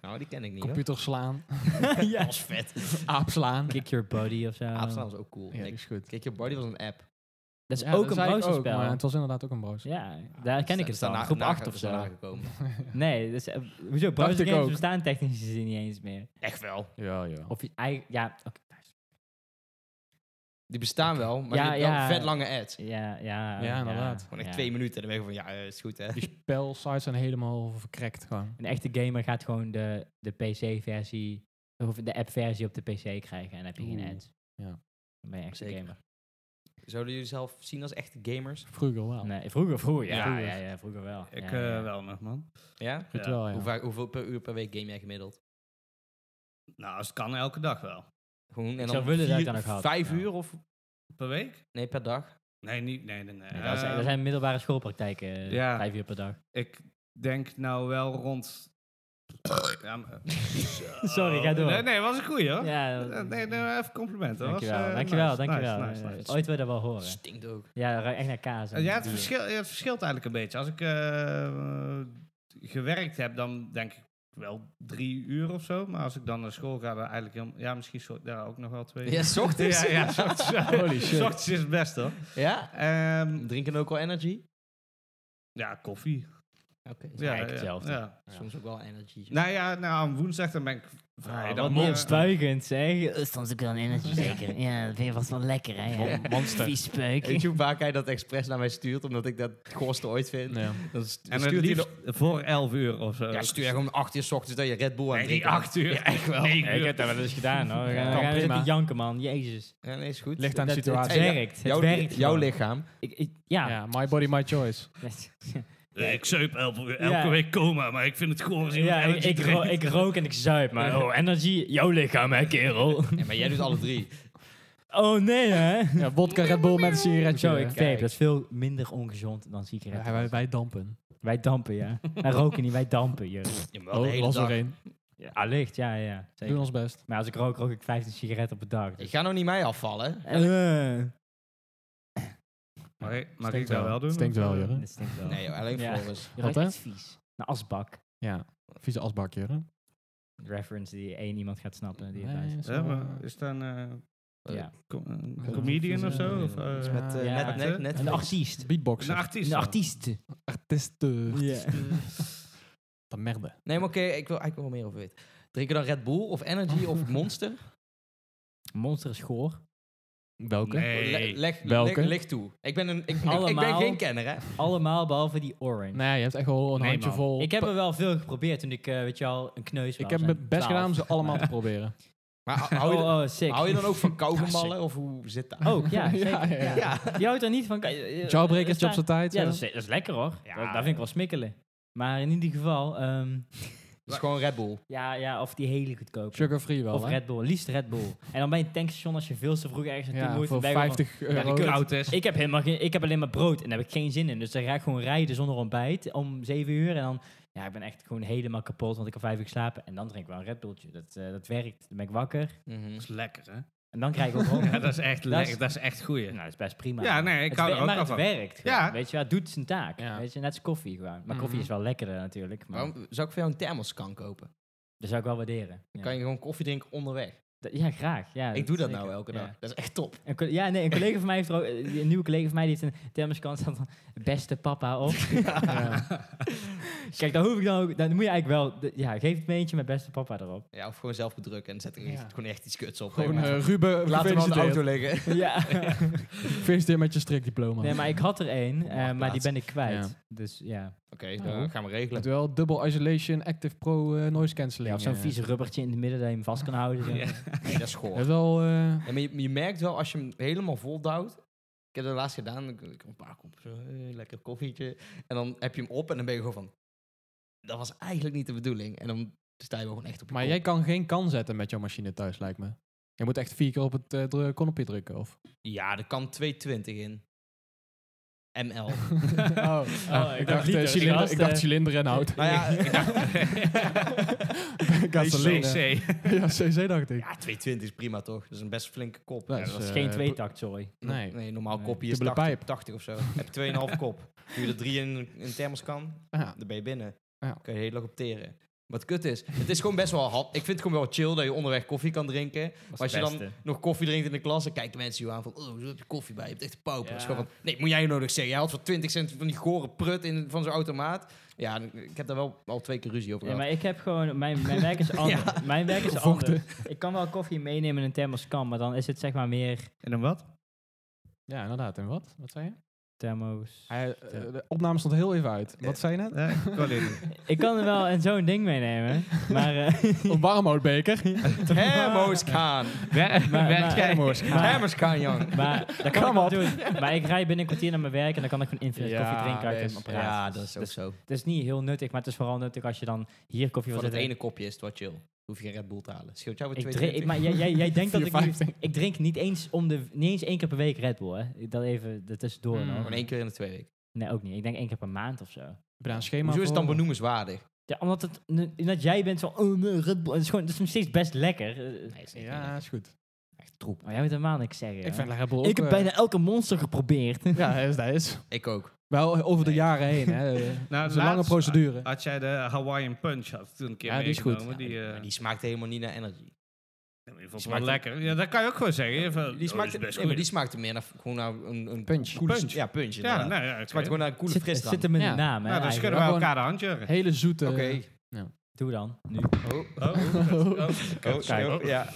Nou, die ken ik niet. Computer slaan. hoor. Dat was vet. Aap slaan. Kick Your Body of zo. Aapslaan was ook cool. Ja, Ja, die is dus- goed. Kijk, je body was een app. Dat is Ja, ook dat een zei ik ook, browserspel. Maar het was inderdaad ook een browser. Ja, daar ken ik het van. Groep 8 of zo. Gekomen. Nee, dus, eh, hoezo? ik Browsergames ook. bestaan technisch gezien niet eens meer. Echt wel. Ja, ja. Of je eigen... Ja, oké. Die bestaan wel, maar Ja, die hebben ja. wel vet lange ads. Ja, ja. Ja, inderdaad. Gewoon echt ja. twee minuten. Dan ben je van, ja, eh, is goed hè. Die spelsites zijn helemaal verkrekt gewoon. Een echte gamer gaat gewoon de, de PC-versie... Of de app-versie op de PC krijgen. En dan heb je geen Oeh, ads. ja. Dan ben je echt een Zeker. gamer. Zouden jullie zelf zien als echte gamers? Vroeger wel. Nee, vroeger, vroeger. Ja, Ja, ja, vroeger. ja, vroeger wel. Ik ja, eh, ja. wel nog, man. Ja? Goed Ja. wel, ja. Hoe vaak, hoeveel per uur per week game jij gemiddeld? Nou, als het kan, elke dag wel. Gewoon, Ik zou willen dat ik vier- dat nog had. Vijf Ja. uur of... Per week? Nee, per dag. Nee, niet. Nee, nee, nee. Nee, dat, zijn, dat Eh, zijn middelbare schoolpraktijken. eh, ja. Vijf uur per dag. Ik denk nou wel rond... Ja, maar- Sorry, ga door. Nee, nee, was een goeie hoor. Ja, Eh, Nee, nee, even complimenten. hoor. dankjewel, Was, eh, dankjewel, nice, dankjewel. nice, nice, Eh, nice. Eh, Ooit wil je dat wel horen. Stinkt ook. Ja, dat ruikt echt naar kaas. en Ja, het, bier. verschil, het verschilt eigenlijk een beetje. Als ik eh, gewerkt heb, dan denk ik wel drie uur of zo. Maar als ik dan naar school ga, dan eigenlijk helemaal... Ja, misschien zo, ja, ook nog wel twee uur. Ja, 's ochtends. Ja, ja, 's ochtends. Holy shit. 's ochtends is het best hoor. ja? Ehm, Drinken ook wel energy? ja, koffie. Oké. Ja, eigenlijk hetzelfde. ja. Soms ook wel energy. Nou ja, nou, aan woensdag dan ben ik vrij. Ah, dan, wat eh, mondstuigend, zeg. Eh, Soms ook wel een energy, zeker. Ja, dat vind je vast wel lekker, hè? Ja. Monster. Vies peuk. Weet je hoe vaak hij dat expres naar mij stuurt, omdat ik dat het goorste ooit vind? Ja. Dan st- En het stuurt hij liefst voor 11 uur of zo. de- ja, stuur jij gewoon om acht uur 's ochtends dat je Red Bull aan Nee, het die drinken bent. 8 uur. Ja, echt wel. Negen uur. dat wel eens gedaan, hoor. We gaan, Kan we gaan prima. zitten janken, man. Jezus. Ja, nee, is goed. Ligt aan de Dat- het situatie. Hey, werkt. Het jouw, werkt jouw gewoon. lichaam. Ik, ik, Ja. ja. my body, my choice. Eh, Ik zuip elke, elke Ja. week coma, maar ik vind het goor als Ja, iemand ik, energy ik, ro- drinkt. ik rook en ik zuip, maar oh, energy, jouw lichaam, hè, kerel. Ja, maar jij doet alle drie. Oh, nee, hè? Ja, vodka, Red Bull met een sigaretje. Zo, ik vape. Kijk. Dat is veel minder ongezond dan Ja, sigaretten. wij, wij dampen. Wij dampen, ja. Wij roken niet, wij dampen, joh. Ja, maar wel de Oh, hele las dag. er één. Ja, allicht, ja, ja, ja. Doen Zeker. ons best. Maar als ik rook, rook ik 15 sigaretten per dag. Ik Dus. ga nou niet mij afvallen. hè? Eh, Mag ik, mag ik Stinkt dat wel, doen? Stinkt Of, wel, eh, Jurre. dit stinkt wel. Nee, joh, alleen Ja. Floris. Je Oh, ruikt Wat, hè? iets vies. Een asbak. Ja, vieze asbak, Jurre. Reference die één iemand gaat snappen. Die het Nee, luistert. is hè, wel, maar Is dat een, eh, ja. com- een Ja, comedian dat of is, eh, zo? Of, iets eh, met- Met, eh, Ja. net, net, net Een artiest. eh, Beatboxer. een artiest. Een dan. artiest. Artiesten. Ja. Dat merde. Nee, maar oké, ik wil eigenlijk wel meer over weten. Drinken dan Red Bull of Energy of Monster? Monster is goor. Welke? Nee. Oh, Le- leg, Welke? leg, leg toe. Ik ben, een, ik, ik- ik, ben Allemaal. geen kenner, hè? Allemaal behalve die orange. Nee, je hebt echt wel een Nee, handje man. vol. Ik heb er wel veel geprobeerd toen ik, eh, weet je al, een kneus ik was heb en mijn best 12. gedaan om ze allemaal te proberen. Maar hou je, oh, oh, sick. hou je dan ook van kauwgemallen Ja, of hoe zit dat? Ook, ja. zeker. ja, ja, Oh, ja. Ja. Die houdt er niet van. kan je- eh, Jawbreakers, eh, jobs op tijd. Ja, eh. dat is, dat is lekker hoor. Dat, dat vind ik wel smikkelen. Maar in ieder geval, ehm, Dus gewoon Red Bull. ja, ja, of die hele goedkoop. Sugar free wel, Of hè? Red Bull, liefst Red Bull. En dan bij een tankstation, als je veel te vroeg ergens naartoe ja, moet. voor dan ben je gewoon 50 die euro. kut. Koud is. van, ik heb, helemaal geen, ik heb alleen maar brood en daar heb ik geen zin in. Dus dan ga ik gewoon rijden zonder ontbijt om 7 uur. En dan, ja, ik ben echt gewoon helemaal kapot, want ik heb vijf uur geslapen. En dan drink ik wel een Red Bulltje. Dat, eh, dat werkt. Dan ben ik wakker. Mhm. Dat is lekker, hè? En dan krijg ik ook honger. Ja, dat is echt Dat is- lekker. Dat is echt goeie. Nou, dat is best prima. Ja, nee, ik Het hou wer- er ook maar wel het van. werkt. Ja. gewoon, Weet je wel, het doet zijn taak. Ja. Weet je, net als koffie gewoon. Maar Mhm. koffie is wel lekkerder natuurlijk. Maar Waarom zou ik voor jou een thermoskan kopen? Dat zou ik wel waarderen. Ja, Dan kan je gewoon koffie drinken onderweg. Dat- ja graag. Ja, Ik doe dat zeker. nou elke dag. Ja. Dat is echt top. Een co- ja, nee, een collega van mij heeft er ook, eh, een nieuwe collega van mij die heeft een thermoskan staan van beste papa op. Ja. Kijk, dan hoef ik dan ook, dan moet je eigenlijk wel, de- ja, geef het meentje met beste papa erop. Ja, of gewoon zelf bedrukken en zet er echt- Ja. gewoon echt iets kuts op. Gewoon Hey, maar- eh, Ruben, Laat hem aan de auto gefeliciteerd. liggen. ja. Gefeliciteerd met je strikdiploma. Nee, maar ik had er één, eh, maar die Marktplaats. ben ik kwijt. Dus ja, Oké, Nou. dan gaan we Je hebt regelen. wel dubbel isolation, active pro, eh, noise ja cancelling. of zo'n eh. vies rubbertje in het midden dat je hem vast kan houden. zo. Ja. Nee, dat is Je goor. hebt wel... eh, Ja, maar je, je merkt wel als je hem helemaal vol duwt. Ik heb dat laatst gedaan. Ik ik een paar kop, zo, eh, lekker koffietje. En dan heb je hem op en dan ben je gewoon van... Dat was eigenlijk niet de bedoeling. En dan sta je wel gewoon echt op je maar kop. jij kan geen kan zetten met jouw machine thuis, lijkt me. Je moet echt vier keer op het eh, dru- knopje drukken, of? Ja, er kan 220 in. ML. Oh, dacht ik, dacht, eh, liter, cilinder, gast, ik dacht eh. cilinder en hout. nou ja, ik dacht- Gasoline. CC. ja, CC dacht ik. ja, 220 is prima toch? Dat is een best flinke kop. Ja, Ja, dat is eh, geen pro- tweetakt, sorry. Nee. Nee, normaal Nee. kopje is Dubbele 80, pijp. 80 of zo. heb je 2,5 kop. Doe je er drie in in een thermoskan, Ja. dan ben je binnen. Ja. Kun je heel erg op teren. Wat kut is, het is gewoon best wel hap. Ik vind het gewoon wel chill dat je onderweg koffie kan drinken. Maar als je dan nog koffie drinkt in de klas, dan kijken mensen je aan van... Oh, zo heb je koffie bij, je hebt echt een pauper. Ja. Het is gewoon van, nee, moet jij je nodig zeggen. Jij had voor 20 cent van die gore prut in, van zo'n automaat. Ja, en ik heb daar wel al twee keer ruzie over Ja, gehad. maar ik heb gewoon... Mijn, mijn werk is anders. Mijn werk is anders. Ik kan wel koffie meenemen in een thermoskan, maar dan is het zeg maar meer En dan wat? Ja, inderdaad. En wat? Wat zei je? thermos... Hij, eh, de opname stond heel even uit. Wat zei je net? Ja, Eh, ik wil dit niet. Ik kan er wel en zo'n ding meenemen, maar... eh, Een warmhoutbeker. Thermoskan. Wer- Maar- werk maar- jij- maar- Thermoskan, jong. Maar dat kan ik wel doen. Maar ik rijd binnen een kwartier naar mijn werk en dan kan ik gewoon infinite Ja, koffie drinken uit wees- een apparaat. Ja, dat is ook dus- zo. Het is niet heel nuttig, maar het is vooral nuttig als je dan hier koffie wil Van het zetten. ene kopje is het wat chill. Hoef je geen Red Bull te halen. Scheelt jou ik weer drink, 2,20? maar jij, jij, jij denkt dat ik nu... 4,50. Ik drink niet eens, om de, niet eens één keer per week Red Bull, hè. Dat even dat tussendoor Mm. nog. Gewoon één keer in de twee weken. Nee, ook niet. Ik denk één keer per maand of zo. Heb je daar een schema Hoezo is het dan voor? benoemenswaardig? Ja, omdat, het, n- omdat jij bent zo... Oh, nee, Red Bull. Het is, gewoon, het is nog steeds best lekker. Eh, Nee, is echt niet Ja, lekker. is goed. Echt troep. Maar jij moet helemaal niks zeggen. Ik hè? vind Red Bull ook... ik heb eh, bijna elke monster geprobeerd. Ja, dat is, dat is. Ik ook. Wel eh, over de Nee. jaren heen, hè. Het Nou, is een lange laatst procedure. Had jij de Hawaiian Punch had toen een keer Ja, die is goed. meegenomen. Die, eh, Maar die smaakte helemaal niet naar energy. die vond het wel smaakt- lekker. Ja, dat kan je ook gewoon zeggen. Van, Die smaakte, oh, dit is best nee, maar goed. die smaakte meer naar gewoon naar een, een Punch. Coole, Punch. Ja, punch. ja, Ja, nou ja, oké. Het smaakt gewoon naar een coole zit, frisdrank. zit hem in Ja. de naam, hè. Nou, dan eigenlijk. schudden we Gewoon- elkaar de hand, Jurgen. Hele zoete... Dus Oké. Doe dan, nu. Oh, Oh, oh, oh, oh, oh, oh. ja.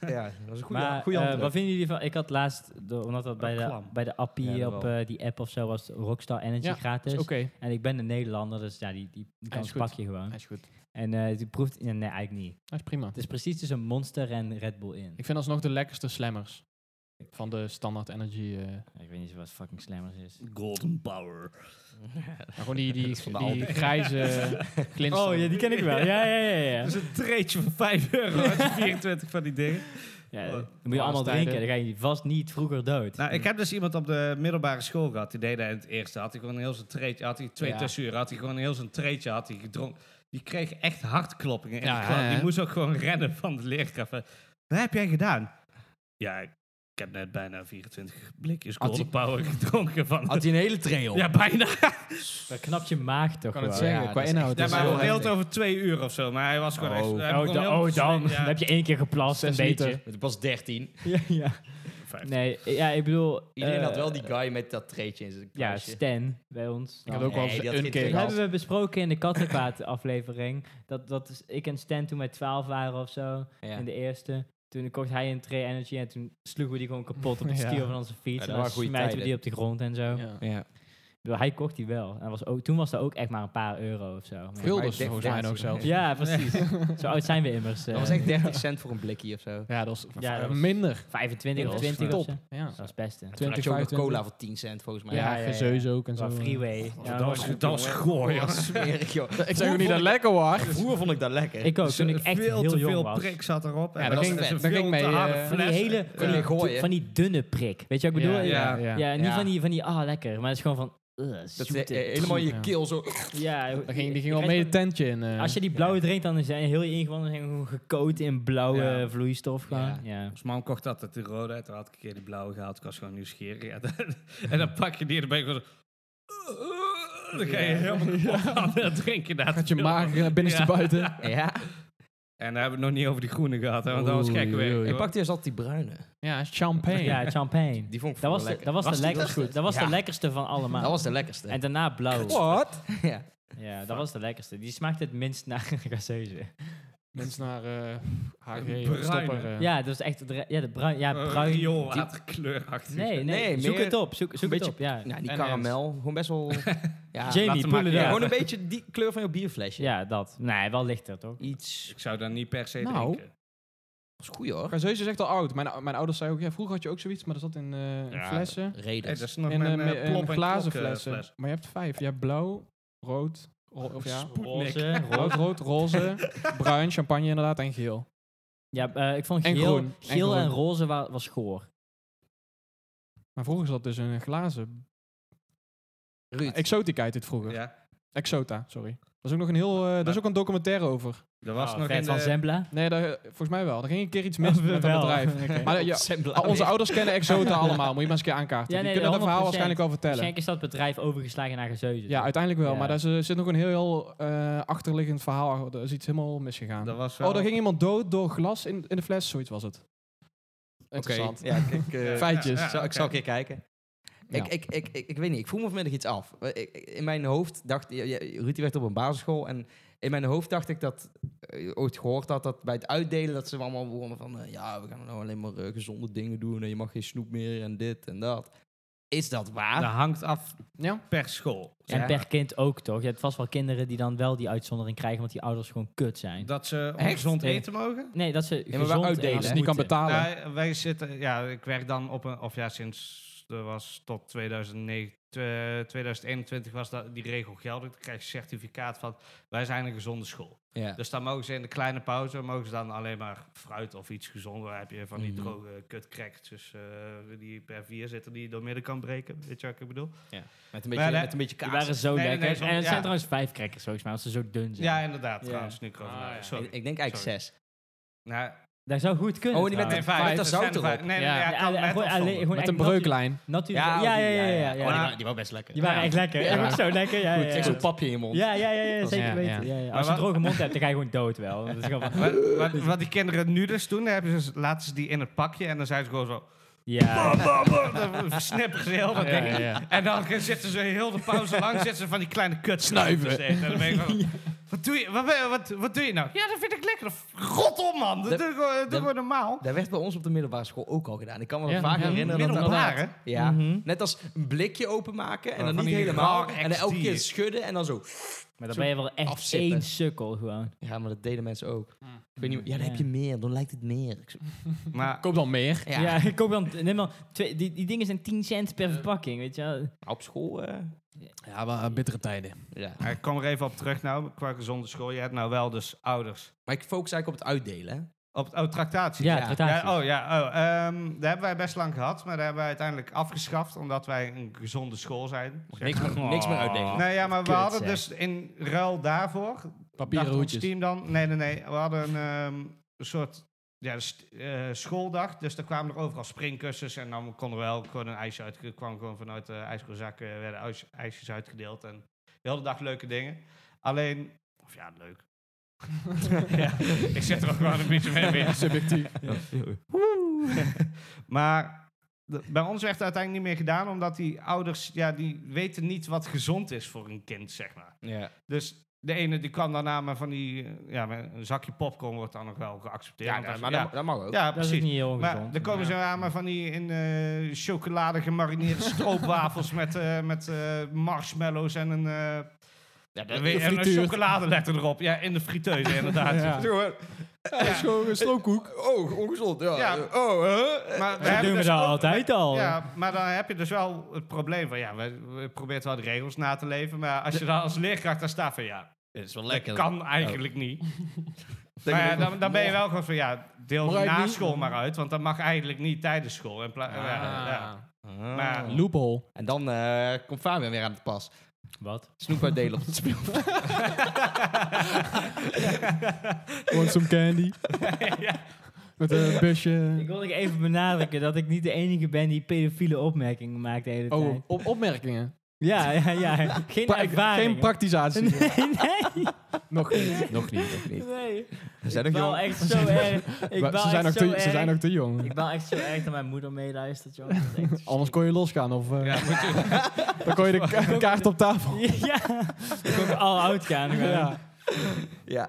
ja, dat was een goede, maar goede eh, hand. wat vinden jullie van... Ik had laatst, de- omdat Oh, dat bij de, klam. bij de appie Ja, dat op wel. eh, die app of zo was, Rockstar Energy Ja, gratis. Is Oké. En ik ben een Nederlander, dus ja, die, die, die Hij kans is goed. pak je gewoon. Hij is goed. En eh die proeft... Nee, nee, eigenlijk niet. Hij is prima. Het is precies tussen Monster en Red Bull in. Ik vind alsnog de lekkerste slammers. Van de standaard energy... eh, Ik weet niet wat fucking slammers is. Golden Power. maar gewoon die, die, van de die Aldi. grijze glinster. Oh, ja, die ken ik wel. Ja, ja, ja, ja. Dat is een treetje van 5 euro. had je 24 van die dingen. ja Oh, dan moet je allemaal laatstijden. drinken, dan ga je vast niet vroeger dood. Nou, ik heb dus iemand op de middelbare school gehad. Die deed dat in het eerste. Had hij gewoon heel zijn treetje. Had hij twee Ja. tussenuren. Had hij gewoon heel zijn treetje. Had hij gedronken. die kreeg echt hartkloppingen. in Ja, de klas. hè, Die hè? moest ook gewoon rennen van de leerkracht. Van, Wat heb jij gedaan? Ja, ik heb net bijna 24 blikjes Had die- Golden Power gedronken van... Had hij een hele trail? ja, bijna. Dat knapt je maag toch kan wel. het zeggen, ja, qua dat is inhoud. Ja, is maar het hij heel wel- hield heftig. over twee uur of zo. Maar hij was gewoon Oh. echt... hij Oh, begon da- heel oh, verschrikt, dan. ja. Dan heb je één keer geplast en Zes weet je. minuten. Het was 13. Ja, ja. Vijf. Nee, ja, ik bedoel... Iedereen eh, had wel die guy met dat treetje in zijn Ja, kruisje. Stan bij ons. Ik had ook wel Nee, eens die had een geen keer Dat twee gehad. hebben we besproken in de Kattenkwaad aflevering. Dat, dat is- ik en Stan toen wij 12 waren of zo, Ja. in de eerste. Toen kocht hij een Trey Energy en toen sloegen we die gewoon kapot op de Ja. stiel van onze fiets. dat en dan waren goede smijten we tijden. die op de grond en zo. Ik Ja. Ja. bedoel, hij kocht die wel. En dat was ook, toen was dat ook echt maar een paar euro of zo. Maar- Gulders Maar volgens mij ook deflatie. zelfs. Ja, precies. zo oud zijn we immers. eh, Dat was echt 30 cent voor een blikje of zo. Ja, dat is Ja, dat was- minder. 25 of Dat was 20 of top. zo. Ja. Dat was het beste. Toen had je ook nog 25. cola voor 10 cent volgens mij. Ja, Ja, ja, ja. gezeus ook en Qua zo. freeway. Ja, dat was- Dat was goor, Dat was smerig, joh. Ik zeg ook niet dat het lekker was. Vroeger vond ik dat lekker. ik ook, toen ik echt veel heel te jong veel was. prik zat erop. Ja, en dan dat ging- was een dan ging veel mee, te harde eh, Van die fles. hele, van Ja. die, Gooien. van die dunne prik. Weet je wat ik bedoel? Ja, ja. niet Ja. van die, van die ah, lekker. Maar het is gewoon van, eh, Dat zoete is eh, helemaal troep, je ja. keel zo... Ja, Dan ging, die je ging wel krijgt mee het gewoon- tentje in. eh. Als je die blauwe drinkt, dan zijn heel je ingewanden zijn gewoon gecoat in blauwe Ja. vloeistof. Gewoon. Ja. Ja. Ons man kocht altijd die rode uit. Toen had ik een keer die blauwe gehaald. Ik was gewoon nieuwsgierig. Ja, dan- en dan pak je die en dan ben je gewoon zo... Dan ga je helemaal kapot aan het drinken. daar. Gaat je maag naar eh, binnenste Ja. buiten. Ja. En daar hebben we het nog niet over die groene gehad. Hè, want dat was Oei, gek oei, weer. oei. Ik pakte eerst altijd die bruine. Ja, champagne. ja, champagne. Die vond ik Dat was, vroeger de, lekker. dat was, de, die- lekkerste, dat was Ja. de lekkerste van allemaal. Dat was de lekkerste. en daarna blauw. Wat? Ja. Ja, dat was de lekkerste. Die smaakt het minst naar gazeuze. Mensen naar eh HG Bruine. of stopper. eh. Ja, dat was echt... de re- Ja, de bruin... Ja, Eh, bruin... Rioolwaterkleurachtig. Nee, nee, Nee, zoek meer- het op. Zoek, zoek het beetje- op, ja. Ja, die En karamel. Gewoon best wel... Ja, laten Jamie, we pull maken. it ja, out. gewoon een beetje die kleur van je bierflesje. Ja, dat. Nee, wel lichter, toch? Iets... Ik zou daar niet per se Nou. drinken. Dat is goed hoor. Gazeus is echt al oud. Mijn, mijn ouders zeiden ook, ja, vroeger had je ook zoiets, maar dat zat in eh, in Ja, flessen. Hey, dat Reden. is nog En, mijn eh, eh, me- en plop- en glazen klok, eh, flessen. fles. Maar je hebt vijf. Je hebt blauw, rood, ro- of ja, Oh, Roze, rood, rood. rood, roze, bruin, champagne inderdaad en geel. Ja, eh, ik vond En geel groen, en geel groen. en roze wa- was goor. Maar vroeger zat dus een glazen Ruud. exotica heet dit vroeger. Ja, Exota, sorry. Dat is ook nog een heel, eh, dat is ook een documentaire over. er was Ah, nog vet in van de... Zembla. Nee, daar, volgens mij wel. Er ging een keer iets mis Oh, met dat wel. bedrijf. Oké. Maar ja, Sembla al onze weer. ouders kennen Exota allemaal. Moet je maar eens een keer aankaarten. Ja, nee, Die kunnen dat verhaal 100%. waarschijnlijk al vertellen. Schenk is dat bedrijf overgeslagen naar gazeuze. Ja, uiteindelijk wel. Ja. Maar daar is, eh, zit nog een heel, heel eh, achterliggend verhaal. Er is iets helemaal misgegaan. Dat was wel... oh, daar ging iemand dood door glas in, in de fles. Zoiets was het. Oké. Interessant. Ja, kijk. eh, Feitjes. Ja, ja. Zal, ik oké. zal een keer kijken. Ja. Ik, ik, ik, ik, ik weet niet, ik voel me vanmiddag iets af. Eh, ik- In mijn hoofd dacht... ja, ja, Ruud die werd op een basisschool en in mijn hoofd dacht ik dat... eh, ooit gehoord had dat bij het uitdelen dat ze allemaal begonnen van... eh, ja, we gaan nou alleen maar eh, gezonde dingen doen en je mag geen snoep meer en dit en dat. Is dat waar? Dat hangt af Ja. per school. En Ja. per kind ook, toch? Je hebt vast wel kinderen die dan wel die uitzondering krijgen, want die ouders gewoon kut zijn. Dat ze Echt? ongezond Nee. eten mogen? Nee, dat ze maar gezond eh, wel en uitdelen, Als hè? je niet Dus kan moeten. betalen. Ja, wij zitten, ja, ik werk dan op een, of ja, sinds er was tot 2009, eh, 2021 was dat die regel geldig. Dan krijg je certificaat van wij zijn een gezonde school. Ja. Dus dan mogen ze in de kleine pauze mogen ze dan alleen maar fruit of iets gezonder. Dan heb je van die Mhm. droge kutcracks dus, eh, die per vier zitten die je door midden kan breken. Weet je wat ik bedoel? Met een beetje, Maar, eh, met een beetje Die kaas. waren zo Nee, nee, lekker. nee, soms- en het ja. zijn trouwens vijf crackers, volgens mij, als ze zo dun zijn. Ja, inderdaad. Ja. Trouwens, nu kan Ah, ja. nou, Sorry. Ik, ik denk eigenlijk Sorry. zes. Nou, Dat zou goed kunnen. Oh, die met nee, trouwens. de- vijf, vijf. dat het zout zijn erop. vijf. Nee, nee, Ja. ja, Ja, kan alleen- met gewoon of alleen- zonder. gewoon Met echt een natu- breuklijn. natuurlijk- Ja, ja, ja, ja, Oh, die, ja. wa- die was best lekker. Die waren echt lekker. Ja. Ja. Zo lekker, ja, ja, Goed, Ik ja. zo'n papje in je mond. Ja, ja, ja, ja, was- zeker ja, weten. ja. Ja, ja. Maar Als je een wat- droge mond hebt, dan ga je gewoon dood wel. Dat is gewoon van- Wat, wat, wat die kinderen nu dus doen, dan hebben ze, laten ze die in het pakje en dan zijn ze gewoon zo. Ja, Dan versnipperen ze heel dat Ja, ding. ja. En dan zitten ze heel de pauze lang zitten ze van die kleine kut Snuiven. En dan ben ik gewoon, wat, doe je, wat, ben- wat, wat doe je nou? Ja, dat vind ik lekker. Rot op, man. Dat Dat- doe, gewoon- doe dat- gewoon normaal. Dat werd bij ons op de middelbare school ook al gedaan. Ik kan me dat Ja, vaak ja, herinneren. dat dat- Middelbaar, hè? Ja, Mhm. net als een blikje openmaken en Maar dan van niet die helemaal. raar En dan elke XD. keer schudden en dan zo. maar dan ben je wel echt Afzitten. één sukkel gewoon. Ja, maar dat deden mensen ook. Mm. Ik weet niet, ja, dan Ja. heb je meer, dan lijkt het meer. Ik zo, Maar Koop dan meer. Ja, Ja, ik koop dan, neem dan twee, die, die dingen zijn 10 cent per verpakking, weet je wel. op school. eh, Ja, wel bittere tijden. ja. eh, ik kom er even op terug nou, qua gezonde school. Je hebt nou wel dus ouders. Maar ik focus eigenlijk op het uitdelen. hè. Op, oh, tractatie. Ja, Ja, tractaties. Ja, oh ja, oh, ehm, daar hebben wij best lang gehad, maar daar hebben wij uiteindelijk afgeschaft omdat wij een gezonde school zijn. Niks meer, niks meer uitdelen. Nou ja, maar we Kut, hadden zeg. dus in ruil daarvoor Papieren dag van hoedjes. Steam dan? Nee, nee, nee. We hadden een ehm, een soort ja, st- eh, schooldag. Dus er kwamen er overal springkussens. En dan konden we wel gewoon een ijsje uit. kwam gewoon vanuit de ijskoelzakken werden ijs- ijsjes uitgedeeld. En de hele dag leuke dingen. Alleen, of ja, leuk. ja, ik zet er ook gewoon een beetje mee in. Subjectief. Maar de- bij ons werd het uiteindelijk niet meer gedaan, omdat die ouders, ja, die weten niet wat gezond is voor een kind, zeg maar. Ja. Dus de ene die kwam daarna maar van die, eh, ja, maar een zakje popcorn wordt dan nog wel geaccepteerd. Ja, Want dat- als- maar ja, Dat, dat mag ook. ja, Dat is ook precies. niet heel Maar ongezond. dan komen ze aan maar van die in eh, chocolade gemarineerde stroopwafels met, eh, met eh, marshmallows en een, eh, Ja, dat- en een gefrituurd. chocoladeletter erop. Ja, in de friteuse inderdaad. Ja. Zo, hè. Dat is gewoon een stroopkoek. Oh, ongezond. Ja. Ja. eh, Oh, hè? Maar we Dat hebben doen we dus dat ook- altijd al. Ja, maar dan heb je dus wel het probleem van, ja, we, we proberen wel de regels na te leven, maar als je dan als leerkracht daar staat van, ja, Dit is wel lekker. Oh. kan eigenlijk niet. Maar ja, dan, dan ben je wel gewoon van, ja, deel Mag ik na niet? school maar uit, want dat mag eigenlijk niet tijdens school. En pla- ja, ja. Maar- Loophole. Ah. En dan eh, komt Fabian weer aan het pas. Wat? Snoep uitdelen op het speelveld. Want some candy. Met een busje. Ik wil nog even benadrukken dat ik niet de enige ben die pedofiele opmerkingen maakt de hele Oh, tijd. op opmerkingen. Ja, ja, ja. Geen Pra- ervaring. geen praktisatie. Nee, Nog niet. nog niet, nog niet. nee. We zijn Ik nog baal jong. echt zo erg. Ik Maar baal ze, zijn nog echt te, zo ze zijn nog erg. te jong. Ik baal echt zo erg dat mijn moeder meeluistert, joh. Dat is echt Anders kon je losgaan of eh, Ja, moet je- dan kon je de ka- kaart op tafel. Ja, ik ook al oud gaan. gewoon. Ja. Ja.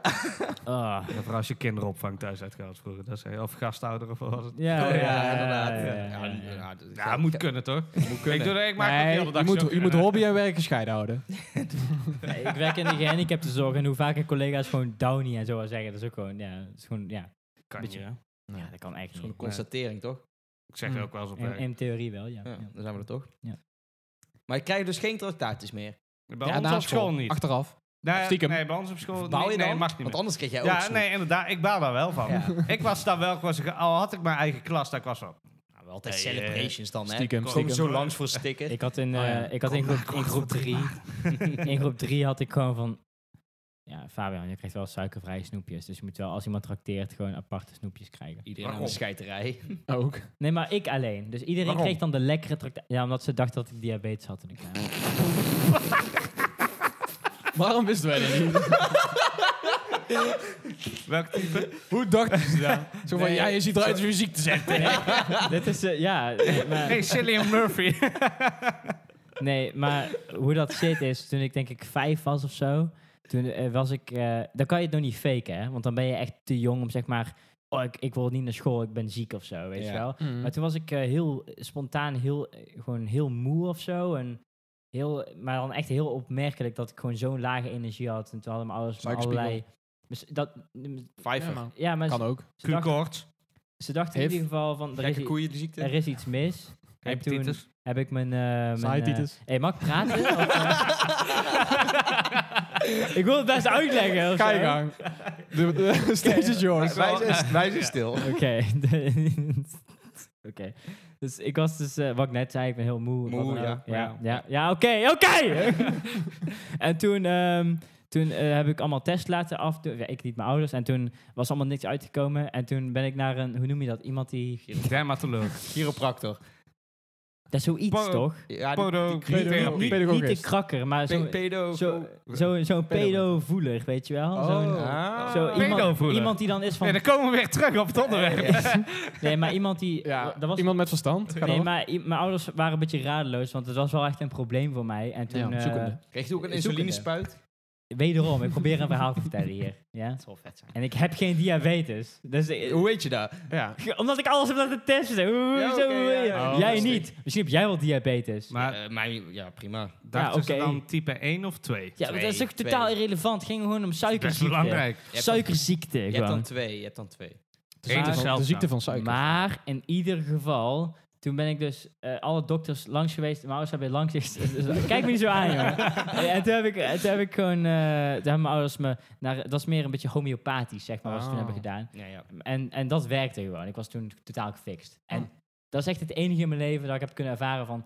Ah. Ja, vooral als je kinderopvang thuis uitgaat vroeger. Dat is, of gastouder of wat was het. Ja, ja, Oh, ja, inderdaad. ja, Ja, ja, ja. ja, dus dat- Ja, moet kunnen toch? Moet kunnen. Ik, doe, dat- ik maak ook eh, Nee, de hele dag je, moet, zulke- je moet hobby en werk gescheiden houden. Nee, Ik werk in de gehandicaptenzorg en hoe vaker collega's gewoon downy en zo al zeggen, dat is ook gewoon, ja, dat is gewoon, ja, Kan beetje- je. ja dat kan echt Gewoon niet. een constatering, toch? Ik zeg het ook wel eens op In, werk. in theorie wel, ja. Ja, ja. dan zijn we er toch. Ja. Maar ik krijg dus geen tractaatjes meer. Bij Ja, ons na op school niet. Achteraf. Nee, Stiekem. Nee, bij ons op school Baal nee, je nee, dan? mag niet meer. Want anders krijg jij ook Ja, snoep. nee, inderdaad. Ik baal daar wel van. Ja. Ik was daar wel gewoon... zo ge- Al had ik mijn eigen klas, daar ik was van... Nou, wel altijd Nee, celebrations dan, hè? Stiekem, Komen stiekem. zo langs voor sticker. Ik had in, Oh, ja. eh, ik had in groep 3, in groep drie, in groep drie had ik gewoon van, ja, Fabian, je krijgt wel suikervrije snoepjes, dus je moet wel, als iemand trakteert, gewoon aparte snoepjes krijgen. Iedereen aan de Waarom? scheiterij. Ook. Nee, maar ik alleen. Dus iedereen Waarom? kreeg dan de lekkere tractatie. Ja, omdat ze dachten dat ik diabetes had toen ik klein was. Waarom wisten wij dat niet? Welk type? Hoe dachten ze dat? Zo van, ja, je ziet eruit als je ziek te zijn. Nee, dit is, eh, ja, nee, maar, Hey, Cillian Murphy. nee, maar hoe dat zit is, toen ik denk ik vijf was of zo, toen eh, was ik, eh, dan kan je het nog niet faken, hè? want dan ben je echt te jong om zeg maar, oh, ik, ik wil niet naar school, ik ben ziek of zo, weet Ja. je wel. Mhm. Maar toen was ik eh, heel spontaan, heel, eh, gewoon heel moe of zo. En heel, maar dan echt heel opmerkelijk dat ik gewoon zo'n lage energie had. En toen hadden mijn ouders me Suikerspiegel. allerlei... Dus dat, Ja, Vijver. man. ja, maar Kan ze, ook. ze dachten, Q-koorts. ze dachten in Hif. ieder geval van, er is, Gekke i- koeien de ziekte. er is iets mis. En toen Hepatitis. heb ik mijn... eh mijn, eh, Saaietitis. Hé, mag ik praten? Of, eh? ik wil het best uitleggen. of Ga je zo. gang. De, de stage is yours. Wij zijn, wij zijn stil. Oké. de- Oké. Dus ik was dus, eh, wat ik net zei, ik ben heel moe. Moe, Wat dan ja. ook. Ja. Ja, ja, ja, oké, oké! en toen, ehm, toen eh, heb ik allemaal tests laten afdoen. Ja, ik niet mijn ouders. En toen was allemaal niks uitgekomen. En toen ben ik naar een, hoe noem je dat? Iemand die... Dermatoloog. Chiropractor. Dat is zoiets, Pa- toch? Ja, die- Podo. Niet, Therapie. niet, Pedagogist. niet de krakker, maar Pe- zo'n pedo. zo, zo, zo'n pedovoeler, weet je wel? Zo'n- Oh. Oh. Ah. zo iemand, Pedovoeler. iemand die dan is van... Nee, dan komen we weer terug op het onderwerp. Nee, maar iemand die... Ja, dat was iemand met verstand. Ga Nee, door. maar i- mijn ouders waren een beetje radeloos, want het was wel echt een probleem voor mij. En toen, Ja, eh, zoekende. Kreeg je ook een Zoekende. insulinespuit? wederom, ik probeer een verhaal te vertellen hier. Ja? zal vet zijn. En ik heb geen diabetes. Dus, eh, Hoe weet je dat? Ja. omdat ik alles heb laten testen. Hoe- Ja, zo- oké, ja, ja. Oh, jij dat is niet. Misschien heb jij wel diabetes. Maar Eh, mijn, ja, prima. dachten ze oké. dan type 1 of 2? ja, maar dat is twee, toch totaal twee. irrelevant. Het ging gewoon om Best suikerziekte. belangrijk. Je hebt dan- Suikerziekte Je hebt gewoon. dan twee, je hebt dan twee. De ziekte, van, de zeldzaam. ziekte van suiker. Maar in ieder geval, toen ben ik dus eh, alle dokters langs geweest. Mijn ouders hebben langs geweest. Dus, kijk me niet zo aan, jongen. Eh, en toen heb ik, eh, toen heb ik gewoon... eh, toen hebben mijn ouders me... Naar, dat is meer een beetje homeopathisch, zeg maar, wat ze toen Oh. hebben gedaan. Ja, ja. En, en dat werkte gewoon. Ik was toen totaal gefixt. En Oh. dat is echt het enige in mijn leven dat ik heb kunnen ervaren van...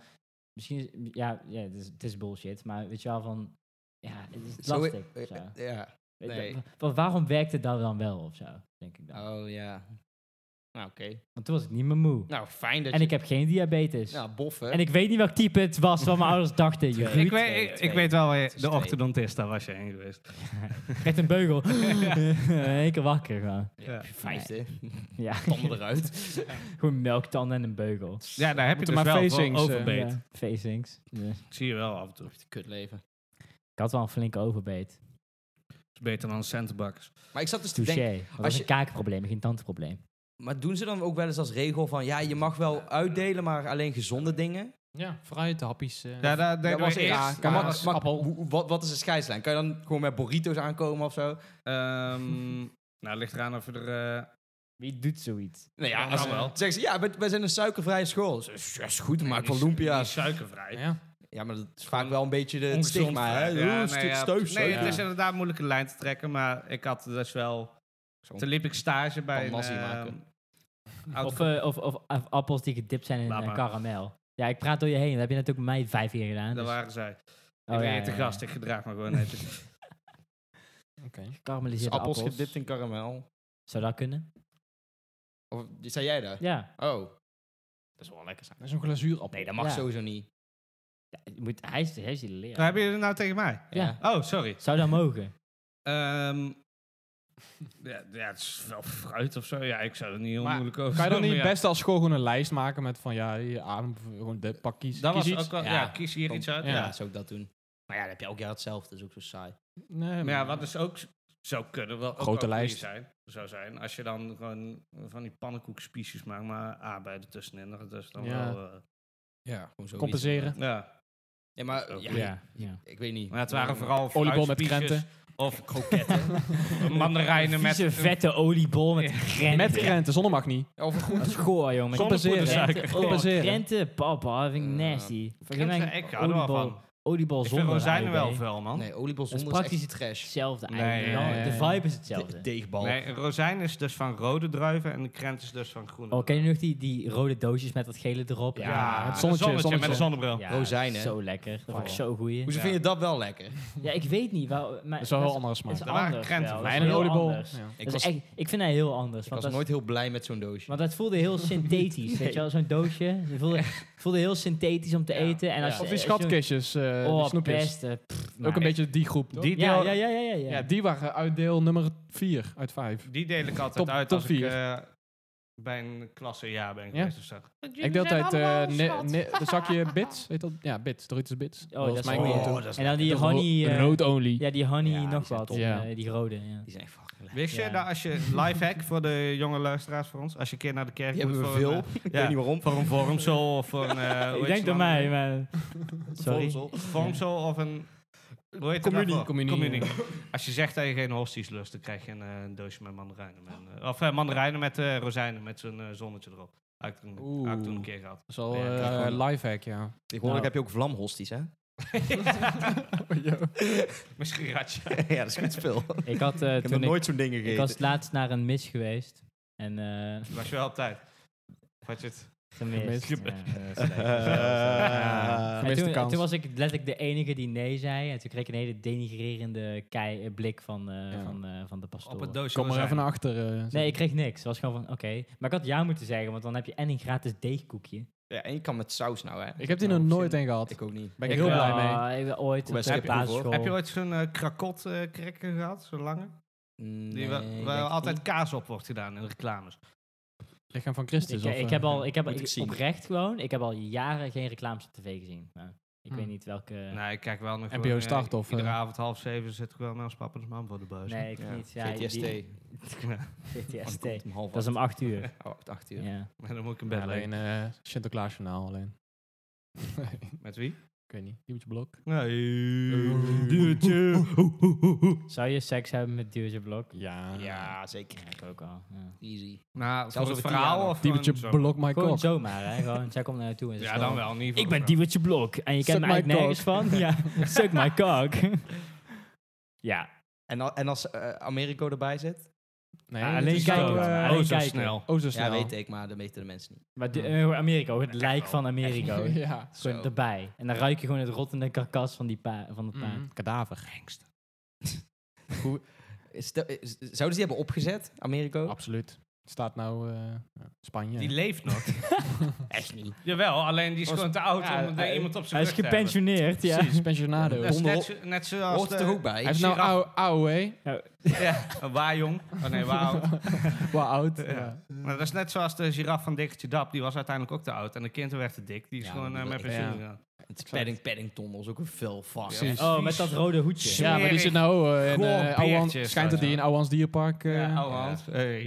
Misschien is... Ja, ja het, is, het is bullshit. Maar weet je wel, van... Ja, het is Zo- lastig. eh, zo. Ja. Weet Nee. je, wa- waarom werkte dat dan wel of zo, denk ik dan. Oh ja. Nou, oké. Want toen was ik niet meer moe. Nou, fijn dat en je... ik heb geen diabetes. Nou, boffen. En ik weet niet welk type het was wat mijn ouders dachten. Joh. Ik, Ik weet, ik, twee. ik weet wel, waar je- is de twee. orthodontist, daar was je heen geweest. kreeg een beugel. In één keer wakker gewoon. Ja, Vijfde. Ja. Tanden eruit. Gewoon melktanden en een beugel. ja daar heb je Moeten dus maar wel voor facings, eh, overbeet. Ja, Facings. Ja. Ik Zie je wel af en toe. Kutleven. Ik had wel een flinke overbeet. is beter dan centenbakkers. Maar ik zat dus te denken... Touché. Dat als was je- een kaakprobleem, geen tandprobleem. Maar doen ze dan ook wel eens als regel van... Ja, je mag wel uitdelen, maar alleen gezonde dingen? Ja, fruit, hapjes. eh, Ja, daar deden was we ik. eerst. Maar, kaas, maar- maar appel. hoe- hoe- wat, wat is de scheidslijn? Kan je dan gewoon met burritos aankomen of zo? Ehm, nou, ligt eraan of je er... eh, Wie doet zoiets? Nou ja, Ja, als, kan wel. zeggen ze, ja, wij- wij zijn een suikervrije school. Zo, Ja, is goed, maak die van is- die is lumpia's. Suikervrij. Ja. Ja, maar dat is vaak wel een beetje de, het Ongezond stigma, hè? vrij. Ja, Ja, een nee, stuk ja. steufzuiker. Nee, het is inderdaad een moeilijke lijn te trekken, maar ik had dus wel... Zo'n Toen liep ik stage bij een... panlassie ehm, maken. oud- Of, eh, of, of, of appels die gedipt zijn in Laat eh, maar. karamel. Ja, ik praat door je heen. Dat heb je natuurlijk met mij vijf keer gedaan. Daar dus- waren zij. Oh, ik ja, ben ja, hier te ja. gast, ik gedraag me gewoon netjes. Dus Karamelliseerde appels appels. gedipt in karamel. Zou dat kunnen? Of zei jij daar? Ja. Oh. Dat is wel lekker zijn. Dat is een glazuurappel. Nee, dat mag Ja. sowieso niet. Ja, je moet, hij is hij is die leraar. Nou, Hebben jullie het nou tegen mij? Ja. Oh, sorry. Zou dat mogen? Ehm, ja, ja, het is wel fruit of zo. Ja, ik zou er niet heel Maar moeilijk over Kan je dan doen, niet maar ja. best als school gewoon een lijst maken met van ja, je adem, gewoon de pak kies. Dat kies was iets. ook wel... Ja, Ja. kies hier iets uit. Ja, Ja. zou ik dat doen. Maar ja, dan heb je elk jaar hetzelfde. Dat is ook zo saai. Nee, Maar ja, wat dus ook z- zou kunnen, wel ook Grote wel lijst. goeie zijn, zou zijn, als je dan gewoon van die pannenkoekspiesjes maakt, maar aardbeien ertussenin, dat is dan Ja. wel... eh, Ja, gewoon zo. compenseren. ja. Ja, maar Ook ja, goed. ja. ik weet niet. Maar het waren vooral Oliebol met fruitspiesjes krenten. Of kroketten. mandarijnen met... Vieze, vette oliebol met krenten. Met krenten, zonder mag niet. Of een Dat is goor, jongen. Met Compenseren. Krenten, oh, Compenseren. krenten, papa, dat vind ik Ja. nasty. Vergeet mij Krenten, een Ik hou er wel oliebol- van. Oliebol Ik vind zonder rozijnen wel aardbei. veel, man. Nee, oliebol is zonder is praktisch echt trash. Hetzelfde Nee, eigenlijk. ja, wel. ja, De ja. vibe is De, hetzelfde. deegbal. Nee, een rozijn is dus van rode druiven en de krent is dus van groene. Oh, ken je nog die, die rode doosjes met dat gele erop? Ja, Ja, het het zonnetje, zonnetje, met een zonnetje. zonnebril. Ja, Rozijnen. Zo lekker. Dat vond ik Oh. zo goeie. Hoezo Ja. vind je dat wel lekker? Ja, ik weet niet. Waar, maar, Dat is wel heel andere smaak. is Er waren anders krenten wel. van. Dat is En een heel oliebol. anders. Ja. Ik Dat is was, ik echt- ik vind dat heel anders. want was dat is- nooit heel blij met zo'n doosje. Want dat voelde heel synthetisch, weet je wel, zo'n doosje. Het voelde, voelde heel synthetisch om te Ja. eten. En als, Ja. je- Of die als je- schatkistjes, eh, die Oh, snoepjes. beste. pff, maar- Ook een beetje die groep. toch? Die deel, Ja, ja, ja, ja. ja, ja. Ja, die waren uitdeel nummer 4 uit 5. Die deel ik altijd Top- uit top als ik vier. eh, bij een klassejaar ben Ja? geweest of zo. Ik deel altijd eh ne- ne- een zakje bits. Weet dat? Ja, bits. Doritos bits. dat is goed. go-to. Oh, Dat dat is en dan die is ro- honey. eh, Rood only. ja, die honey Ja, die nog zijn wat. top. Ja. eh, die rode, ja. Die zijn echt fucking lekker. Wist je Ja. dat als je lifehack voor de jonge luisteraars voor ons, als je een keer naar de kerk Die moet hebben we voor veel. een, Ik ja. weet niet waarom. eh, voor een vormsel of voor een eh, hoe Ik heet denk ze aan nou? mij, maar... Sorry. Vormsel. vormsel of een hoe heet dat Communie. daarvoor? Communie, Als je zegt dat je geen hosties lust, dan krijg je een, eh, een doosje met mandarijnen. Met, een, eh, of eh, mandarijnen met eh, rozijnen met zo'n eh, zonnetje erop. Had ik toen, Oeh. had ik toen een keer gehad. Dat is al Ja, eh, kijk, gewoon- lifehack, ja. Tegenwoordig heb je ook vlamhosties, hè? Misschien ratje. ja, dat is goed spul. Ik had eh, ik heb nog toen ik, nooit zo'n ding ik gegeten. was laatst naar een mis geweest. En eh Was je wel op tijd. Of had je het? gemist. Gemist. ja, eh, slecht. Eh, En Gemiste toen, kans. toen was ik letterlijk de enige die nee zei. En toen kreeg ik een hele denigrerende kei, eh, blik van, eh, Ja. van, eh, van de pastoor. Op het doosje Kom maar rozijnen. even naar achter. eh, Nee, ik kreeg niks. Het was gewoon van, oké. Maar ik had ja moeten zeggen, want dan heb je en een gratis deegkoekje. ja, en je kan met saus nou, hè? Ik heb die nog nooit een gehad. Ik ook niet. Ben ik Ik heel wel. blij mee. Ah, ik ben ooit Ik ben op de skip proef, hoor. basisschool. Heb je ooit zo'n eh, krakot eh krekker gehad, zo'n lange? Die wa- Nee, waar denk altijd niet. kaas op wordt gedaan in reclames. Lichaam van Christus. Ik, of, ik eh, heb al, ik heb moet ik ik- zien. oprecht gewoon, ik heb al jaren geen reclames op tv gezien. Nou, ik Hmm. weet niet welke... Nee, ik kijk wel nog... NPO gewoon, eh, start of, Iedere eh, avond half zeven zit ik wel met ons papa en ons mam voor de buis. Nee, ik Ja. niet. Ja, GTST. die- Ja, GTST. Komt om half Dat is om acht uur. acht. Oh, acht, acht uur. Ja. maar dan moet ik in Ja, bed liggen. alleen eh Sinterklaasjournaal alleen. ik Met wie? weet niet. Die moet je blok. Nee. Eh. Oh, Zou je seks hebben met Duwtje Blok? Ja. Ja, zeker. Ja, ik ook al. Ja. Easy. Nou, Zelfs voor het over tien jaar verhaal nog. of Die gewoon moet je zo? blok my Gewoon cock. zomaar, hè? Gewoon, zij komt naar je toe en ze Ja, is gewoon- dan wel. Niet Ik ben Diewertje Blok en je kent Suck mij my eigenlijk nergens van. Ja, suck my cock. ja, En, al- en als eh, Americo erbij zit? Nee, Ah, dit alleen is kijken zo, we. eh, Alleen Oh, zo kijken. snel. Oh, zo Ja, snel. weet ik, maar dat weten de mensen niet. maar de, eh, Americo, het lijk van Americo. is ja. Gewoon Zo. erbij. En dan ruik je Mhm. Mm. gewoon het rottende karkas van, die pa van het paard. Mm, kadaver. Hoe, Stel- eh, z- Zouden ze die hebben opgezet, Americo? Absoluut. Staat nou eh, ja, Spanje. Die leeft nog. Echt niet. Jawel, alleen die is Was- gewoon te oud Ja, om er hij- iemand op Hij zijn is rug te hebben. gepensioneerd, ja. Precies, pensionado. Dat is Hij net, zo- net zoals Hoort de- het er ook bij? heeft nou giraf. AO- AOW. Ja, een waarjong. Oh nee, waaroud. Wel oud. Ja. ja. Maar dat is net zoals de giraf van Dikkertje Dap. Die was uiteindelijk ook te oud. En de kind werd te dik. Die is Ja, gewoon eh, dat- met ja. pensioen gegaan. Het is Padding, Paddington was ook een veel vast. Precies. Oh, met dat rode hoedje. Ja, maar die zit nou eh, in Goor eh, Ouwehand- beertje is Schijnt dat dat, die in ja. Ouwans Dierpark... eh, Ja, ja, oude hand. Hey.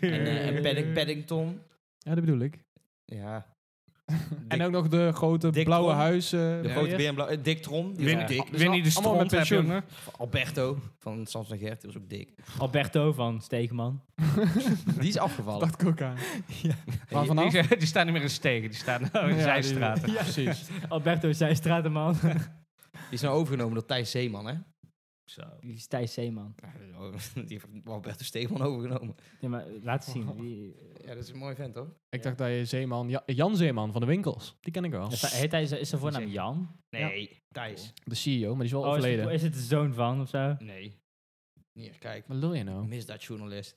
En, eh, en Padding, Paddington. dat bedoel ik. Ja. En ook nog de grote Dick blauwe Trom. huizen. De Ja, grote ja. beer en blauw. eh, Dick Trom. Die Win- was Dick- ook dik. Winnie de allemaal Stront met heb je ook pensioen. nog. Alberto van Sans en Gert. Die was ook dik. Alberto van Steekman. Die is afgevallen. dacht ik ook aan. Waar Die- vanaf? Die, die staan niet meer in steken. Die staan nou in Ja, zijstraten. die- Ja, precies. Alberto Zijstratenman. Die is nou overgenomen door Thijs Zeeman, hè? Zo. Die is Thijs Zeeman. Die heeft Alberto Steeman overgenomen. Ja, maar eh, laat Oh. zien. Die, eh, Ja, dat is een mooi vent, hoor. Ik dacht dat je Zeeman... Ja- Jan Zeeman van de winkels. Die ken ik wel. is, hij- heet hij, is zijn voornaam Zeker. Jan? Oh, Nee, Thijs. De CEO, maar die is wel is, overleden. het, is het de zoon van of zo? Nee. Hier, kijk. Wat wil je nou? Misdaadjournalist.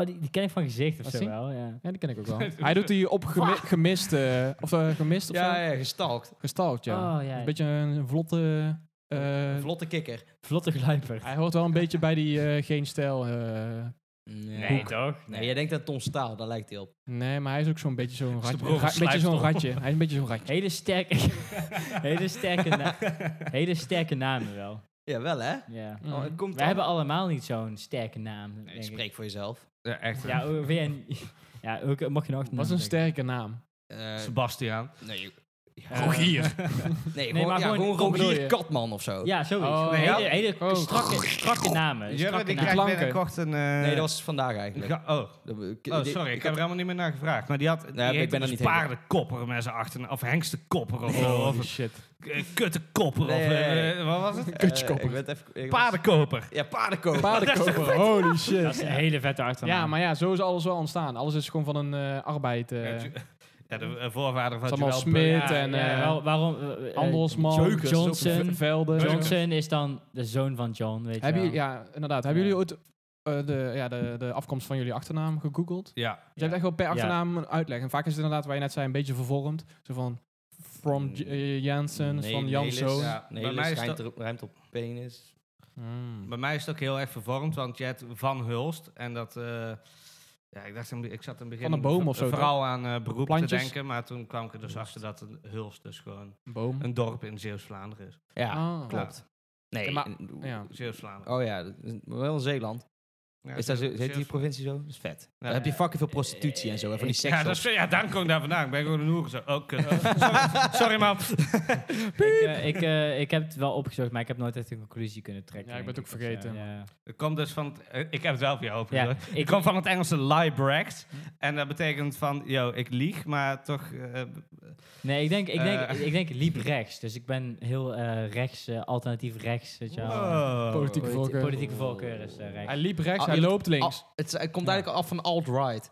Oh, die, die ken ik van gezicht of Wat zo zie- wel, ja. Ja, die ken ik ook wel. Hij doet die op gemi- gemist, eh, of eh, gemist of Ja, zo? ja, gestalkt. Gestalkt, ja. Oh, ja. Een beetje een vlotte... eh, Vlotte kikker. Vlotte gluiper. hij hoort wel een beetje bij die eh, geen stijl. eh, Nee, Nee. toch? Nee, jij denkt dat Tom Staal, daar lijkt hij op. nee, maar hij is ook zo'n beetje zo'n is de ratje. broer van Ra- beetje zo'n Slijpstok. ratje. Hij is een beetje zo'n ratje. Hele sterke, hele, sterke na- hele sterke namen wel. Ja, wel hè? Ja. Mm. Oh, het komt We dan. hebben allemaal niet zo'n sterke naam. Nee, denk ik. spreek voor jezelf. Ja, echt. Ja, ook weer een- ja, ook, mag je nog Wat is een sterke naam? Eh, Sebastiaan. nee, Eh, Rogier. nee, maar gewoon, ja, gewoon- gewoon gewoon bedoel Rogier je- Katman of zo. Ja, zoiets. Oh, Gewoon ja. hele, hele Oh. strakke, strakke namen. Jurre, strakke die namen. krijgt Klanken. binnenkort een... eh, Nee, dat was vandaag eigenlijk. ga- Oh, Dat we- k- Oh, dit- sorry, ik had- heb er helemaal niet meer naar gevraagd. Maar die had die ik heette ben er dus niet helemaal- paardenkopper met zijn achternaam. Of hengstenkopper of, zo, Oh, of shit. eh, kuttenkopper. Nee, of, eh, nee, nee. eh, wat was het? eh, kutjekopper. ik werd even- ik was- Paardenkoper. Ja, paardenkoper. Paardenkoper. Holy Dat is shit. een hele vette achternaam. Ja, maar ja, zo is alles wel ontstaan. Alles is gewoon van een eh, arbeid. eh, Ja, Ju- ja, de eh, voorvader van Samuel Joel Smit Bur- en eh, wel- waarom... eh, eh, Handelsman. Joe Johnson. Velden. Johnson is dan de zoon van John, weet Hebben je jullie, wel. ja, inderdaad. Hebben jullie ooit eh, de, ja, de, de afkomst van jullie achternaam gegoogeld? Ja. Je hebt echt wel per Ja. achternaam een uitleg. En vaak is het inderdaad, waar je net zei, een beetje vervormd. Zo van, from J- eh, Jansen, Nee, van nee, Janso. Lis. Mm. Ja. Nee, Bij mij Lis is ruimt, dat- er- ruimt op penis. Mm. Bij mij is het ook heel erg vervormd, want je hebt Van Hulst. En dat... eh, ja, ik, dacht, in het be- ik zat in het begin Van een boom of zo, vooral aan eh, beroep te Plantjes. denken. Maar toen kwam ik er dus achter dat een Hulst dus gewoon Boom. een dorp in Zeeuws-Vlaanderen is. Ja, Ah. klopt. Nee, Ja, maar- en- Ja. Zeeuws-Vlaanderen. Oh ja, dat is wel in Zeeland. Ja, Oh. Is dat zo, Zeeuws- heet die Zeeuws- provincie zo? Dat is vet. Daar Ja. heb je fucking veel prostitutie en zo. En van die seks. Ja, dat is, ja, daarom kom ik daar vandaan. Ik ben gewoon een hoer. Zo, oh, kut. Oh, sorry, sorry, man. Ik, eh, ik, eh, ik heb het wel opgezocht, maar ik heb nooit echt een conclusie kunnen trekken. Ja, ik ben denk het ook of zo, vergeten. ja. Het komt dus van... het- eh, ik heb het wel voor jou Ja, opgezocht. ik- ik kom van het Engelse liebrecht. En dat betekent van... Yo, ik lieg, maar toch... eh, Nee, ik denk, ik denk, Eh. ik denk, het liep rechts. Dus ik ben heel eh, rechts, eh, alternatief rechts, weet je wel. oh. Politieke Politi- voorkeur. Politieke voorkeur is eh, Hij rechts. liep rechts, Ah, hij je- loopt links. Al- het, is- het komt eigenlijk af van alt-right.